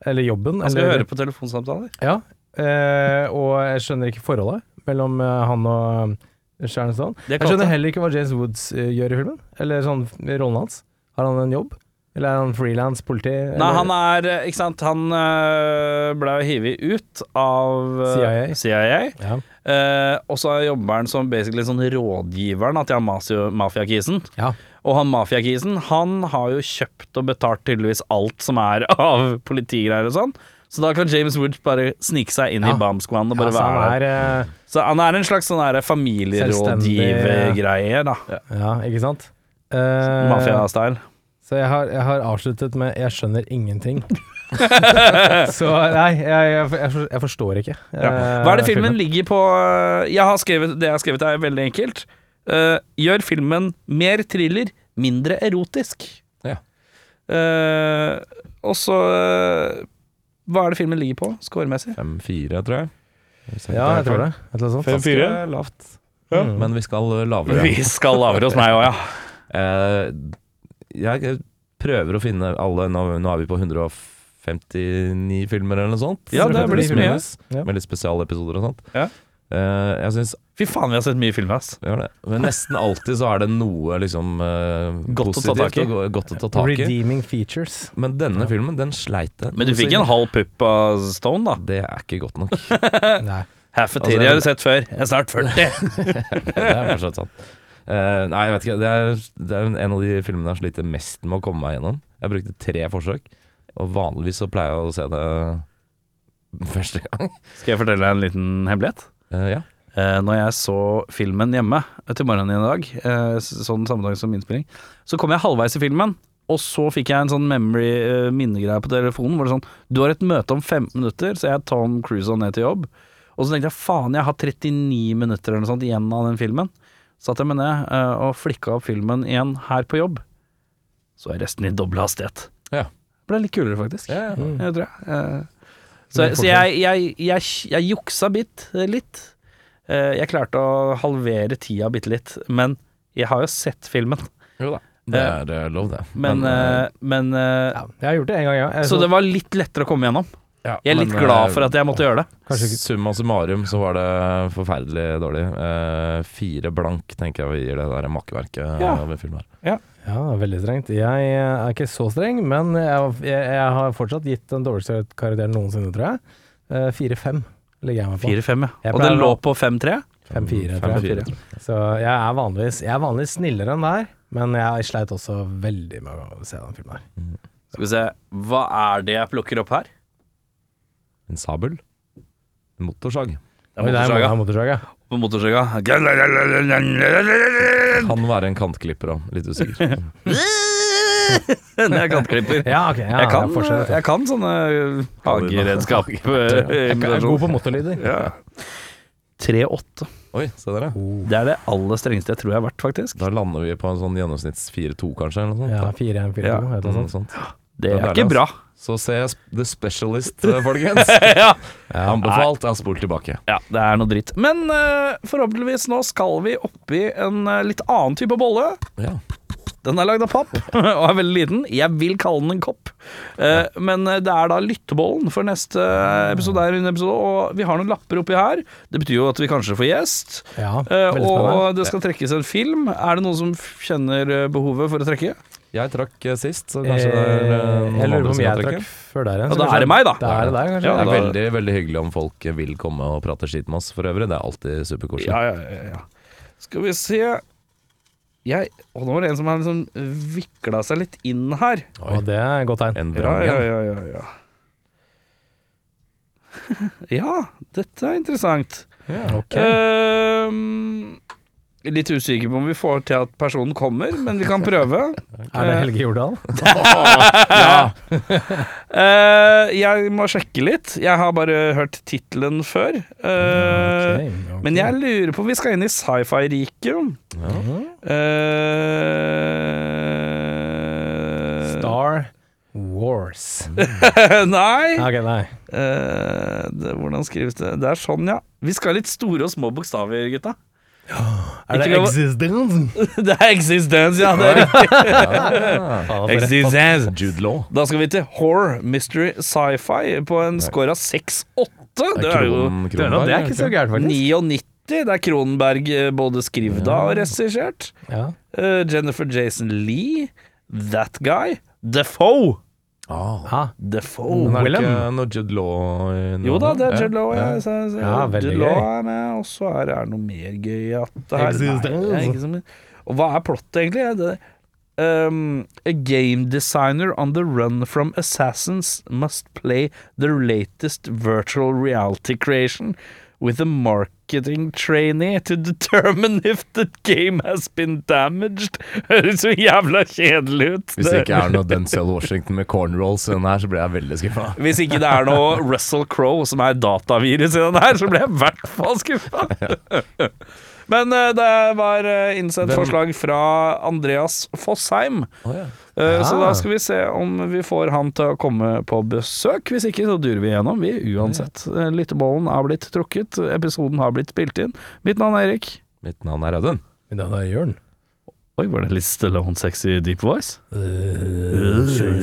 Speaker 5: Eller jobben.
Speaker 2: Han skal
Speaker 5: eller,
Speaker 2: høre på telefonsamtaler.
Speaker 5: Ja, eh, og jeg skjønner ikke forholdet mellom eh, han og eh, Sharon Stone.
Speaker 2: Det er
Speaker 5: Jeg
Speaker 2: kaldt,
Speaker 5: skjønner
Speaker 2: ja.
Speaker 5: heller ikke hva James Woods eh, gjør i filmen, eller sånn rollen hans. Har han en jobb? Eller er han frilans politi?
Speaker 2: Nei, han er eh, Ikke sant, han eh, ble jo hivet ut av eh,
Speaker 5: CIA.
Speaker 2: CIA.
Speaker 5: Ja.
Speaker 2: Eh, og så jobber han som basically sånn rådgiveren til han mafia- mafiakisen.
Speaker 5: Ja.
Speaker 2: Og han mafiakisen, han har jo kjøpt og betalt tydeligvis alt som er [LAUGHS] av politigreier og sånn. Så da kan James Woods bare snike seg inn i BAM-skvanen og bare
Speaker 5: Altså,
Speaker 2: være der.
Speaker 5: han er
Speaker 2: Så han er en slags sånn her
Speaker 5: Selvstendig,
Speaker 2: familierådgivergreie, da.
Speaker 5: eh, Ja, ikke sant? Eh,
Speaker 2: Mafia-style.
Speaker 5: så jeg har, jeg har avsluttet med 'jeg skjønner
Speaker 2: [LAUGHS]
Speaker 5: ingenting'. så nei, jeg, jeg, jeg for- jeg forstår ikke.
Speaker 2: Ja.
Speaker 5: eh,
Speaker 2: Hva er det filmen ligger på eh, jeg har skrevet, Det jeg har skrevet er veldig enkelt. Eh, gjør filmen mer thriller, mindre erotisk.
Speaker 4: Ja.
Speaker 2: Eh, og så eh, Hva er det filmen ligger på scoremessig?
Speaker 4: 5-4, tror jeg.
Speaker 5: Ja, jeg tror det. Et eller annet sånt. Mm.
Speaker 4: Ganske lavt. Men vi skal eh, lavere.
Speaker 2: skal lavere hos meg òg, ja.
Speaker 4: Eh, jeg prøver å finne alle Nå, nå er vi på 159 filmer eller noe sånt.
Speaker 2: Ja, det blir så mye.
Speaker 5: Ja.
Speaker 4: Med litt spesialepisoder og sånt.
Speaker 2: Ja.
Speaker 4: Eh, jeg syns
Speaker 2: Fy faen, vi har sett mye film, ass.
Speaker 4: vi gjør det. Men nesten alltid så er det noe liksom eh,
Speaker 2: Godt å ta
Speaker 4: positivt
Speaker 2: tak i.
Speaker 4: og go- godt å ta tak i.
Speaker 5: Redeeming features.
Speaker 4: Men denne filmen, den sleit jeg.
Speaker 2: Men du fikk en halv pupp av Stone, da.
Speaker 4: Det er ikke godt nok.
Speaker 2: Eh.
Speaker 5: Nei.
Speaker 2: Half a titty har du sett før. Jeg er [LAUGHS] snart 40.
Speaker 4: Det er for så vidt sant. Eh, nei, jeg vet ikke. Det er, det er en av de filmene jeg sliter mest med å komme meg gjennom. Jeg brukte tre forsøk, og vanligvis så pleier jeg å se det første gang.
Speaker 2: Skal jeg fortelle deg en liten hemmelighet?
Speaker 4: Eh, ja.
Speaker 2: Eh, når jeg så filmen hjemme til morgenen i dag, eh, s- sånn samme dag som innspilling, så kom jeg halvveis i filmen, og så fikk jeg en sånn memory eh, minnegreie på telefonen hvor det er sånn Du har et møte om 15 minutter, så jeg tar Tom Cruise og ned til jobb. Og så tenkte jeg faen, jeg har 39 minutter eller noe sånt igjen av den filmen. Så satte jeg meg ned eh, og flikka opp filmen igjen her på jobb. Så er resten i doble hastighet.
Speaker 4: Ja.
Speaker 2: Det ble litt kulere, faktisk.
Speaker 4: Ja, ja.
Speaker 2: Jeg tror jeg. Eh, Så, så jeg, jeg, jeg, jeg juksa bitt, litt. Eh, Jeg klarte å halvere tida bitte litt, men jeg har jo sett filmen.
Speaker 4: Jo da. Det er eh, lov, det.
Speaker 2: Men, eh, men eh,
Speaker 5: Ja, jeg har gjort det en gang, ja. Jeg,
Speaker 2: Så det var litt lettere å komme gjennom.
Speaker 4: ja, eh,
Speaker 2: Jeg er litt glad for at jeg måtte gjøre det.
Speaker 5: Kanskje ikke
Speaker 4: Summa summarum så var det forferdelig dårlig. Eh, fire blank tenker jeg vi gir det der makkverket
Speaker 2: Ja.
Speaker 4: av en film her.
Speaker 5: Ja, veldig strengt. Jeg eh, er ikke så streng, men jeg, jeg, jeg har fortsatt gitt den dårligste karakteren noensinne, tror jeg. Eh, 4-5 ligger jeg meg på.
Speaker 2: Fire-fem, ja.
Speaker 5: Jeg
Speaker 2: Og
Speaker 5: pleier
Speaker 2: den
Speaker 5: å-
Speaker 2: lå på fem-tre.
Speaker 5: 5-4,
Speaker 4: Fem,
Speaker 5: tror
Speaker 4: fire.
Speaker 5: jeg. Så jeg er vanligvis, jeg er vanligvis snillere enn der, men jeg sleit også veldig med å se den filmen her.
Speaker 2: Skal vi se, hva er det jeg plukker opp her?
Speaker 4: En sabel. En motorsag.
Speaker 5: Oi, det er en motorsag, ja.
Speaker 2: På [LAUGHS] motorsaga. [LAUGHS] Den
Speaker 4: Kan være en kantklipper òg, litt usikker.
Speaker 2: [LAUGHS] er kantklipper.
Speaker 5: Ja, ok. Ja,
Speaker 2: Jeg kan,
Speaker 5: det er forskjell,
Speaker 2: jeg kan sånne [LAUGHS] hageredskap.
Speaker 5: Jeg kan- jeg er god på motorlyder.
Speaker 2: Ja. 3-8.
Speaker 4: Oi, se der, ja.
Speaker 2: Det er det aller strengeste jeg tror jeg har vært, faktisk.
Speaker 4: Da lander vi på en sånn gjennomsnitts 4-2, kanskje, eller noe sånt.
Speaker 5: Ja, 4-1, 4-2,
Speaker 2: Ja. sånn.
Speaker 5: et eller
Speaker 4: Noe
Speaker 5: annet sånt.
Speaker 4: sånt.
Speaker 2: Det
Speaker 4: Ja,
Speaker 2: er
Speaker 4: det er
Speaker 2: ikke
Speaker 4: det,
Speaker 2: bra.
Speaker 4: Så se The Specialist, [LAUGHS] eh, folkens. Anbefalt av Spol tilbake.
Speaker 2: Ja, det er noe dritt. Men eh, forhåpentligvis nå skal vi oppi en eh, litt annen type bolle.
Speaker 4: Ja.
Speaker 2: Den er lagd av papp [LAUGHS] og er veldig liten. Jeg vil kalle den en kopp. Eh, Men eh, det er da lyttebollen for neste eh, episode, er en episode, og vi har noen lapper oppi her. Det betyr jo at vi kanskje får gjest.
Speaker 5: Ja,
Speaker 2: Eh,
Speaker 5: veldig spennende.
Speaker 2: Og det skal trekkes en film. Er det noen som kjenner eh, behovet for å trekke?
Speaker 4: Jeg trakk eh, sist, så
Speaker 5: Eh,
Speaker 4: kanskje det er eh,
Speaker 5: Jeg
Speaker 4: noen
Speaker 5: lurer på
Speaker 4: andre
Speaker 5: om
Speaker 4: som
Speaker 5: jeg
Speaker 4: kan
Speaker 5: trakk
Speaker 4: trekke.
Speaker 5: før der igjen.
Speaker 2: Ja,
Speaker 5: så
Speaker 2: da
Speaker 5: kanskje-
Speaker 2: er det meg, da.
Speaker 5: Da er det deg, kanskje.
Speaker 2: Ja,
Speaker 4: Det er
Speaker 2: da-
Speaker 4: veldig, veldig hyggelig om folk vil komme og prate skit med oss for øvrig. Det er alltid superkoselig.
Speaker 2: Ja, ja, ja, ja. Skal vi se Jeg Og nå var det en som har liksom vikla seg litt inn her.
Speaker 5: Og det er et godt tegn.
Speaker 4: En
Speaker 2: Ja,
Speaker 4: bra
Speaker 2: ja,
Speaker 4: en.
Speaker 2: ja, ja, ja. [LAUGHS] ja, dette er interessant.
Speaker 5: Ok.
Speaker 2: Ehm, litt usikker på om vi får til at personen kommer, men vi kan [LAUGHS] prøve.
Speaker 5: Er det Helge Jordal?
Speaker 2: Eh, jeg må sjekke litt. Jeg har bare hørt tittelen før. Eh,
Speaker 5: Ok, ok.
Speaker 2: Men jeg lurer på Vi skal inn i sci-fi-riket. Eh,
Speaker 5: Star
Speaker 2: [LAUGHS]
Speaker 5: Wars.
Speaker 2: Nei!
Speaker 5: Ok, nei.
Speaker 2: Eh, det, hvordan skrives det? Det er sånn, ja. Vi skal ha litt store og små bokstaver, gutta. [LAUGHS]
Speaker 5: Er
Speaker 2: det
Speaker 5: det Existence?
Speaker 2: Det er existence, ja. Det er riktig. existence.
Speaker 4: Jude Law.
Speaker 2: Da skal vi til horror, mystery, sci-fi på en score av 6-8. Det er jo
Speaker 4: Kron-
Speaker 5: Det
Speaker 4: Kronberg,
Speaker 5: er ikke så gærent, faktisk.
Speaker 2: 99. Det er Kronenberg eh, både skrevet av og regissert.
Speaker 5: Ja.
Speaker 2: Eh, Jennifer Jason Lee. That guy. Defoe.
Speaker 4: Ah,
Speaker 5: Ja.
Speaker 2: Defoe.
Speaker 4: men er det
Speaker 5: Willem.
Speaker 4: ikke noe Jude Law i nå?
Speaker 2: Jo da, det er Jude Law. Ja, så, så,
Speaker 5: Ja, veldig
Speaker 2: Jude Law
Speaker 5: gøy.
Speaker 2: er med, og så er det er det noe mer gøy at det her.
Speaker 5: Existence.
Speaker 2: Nei, det er ikke så mye. og hva er plottet, egentlig? Det, um, A game designer on the run from assassins must play their latest virtual reality creation with a marketing trainee to determine if the game has been damaged. [LAUGHS] Høres så jævla kjedelig ut.
Speaker 4: Hvis det
Speaker 2: [LAUGHS]
Speaker 4: ikke er noe Denzel Washington med cornrolls i den her, så blir jeg veldig skuffa.
Speaker 2: Hvis ikke det er noe Russell Crowe som er datavirus i den her, så blir jeg i hvert fall skuffa. Men eh, det var eh, innsendt
Speaker 4: Hvem-
Speaker 2: forslag fra Andreas Fossheim. Eh, Så da skal vi se om vi får han til å komme på besøk. Hvis ikke, så durer vi gjennom, vi uansett. Eh, Lyttebollen er blitt trukket, episoden har blitt spilt inn. Mitt navn er Erik.
Speaker 4: Mitt navn er Audun.
Speaker 5: Men da er Jørn.
Speaker 2: Oi, var det litt Stallone sexy deep voice?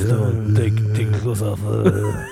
Speaker 5: Technical stuff.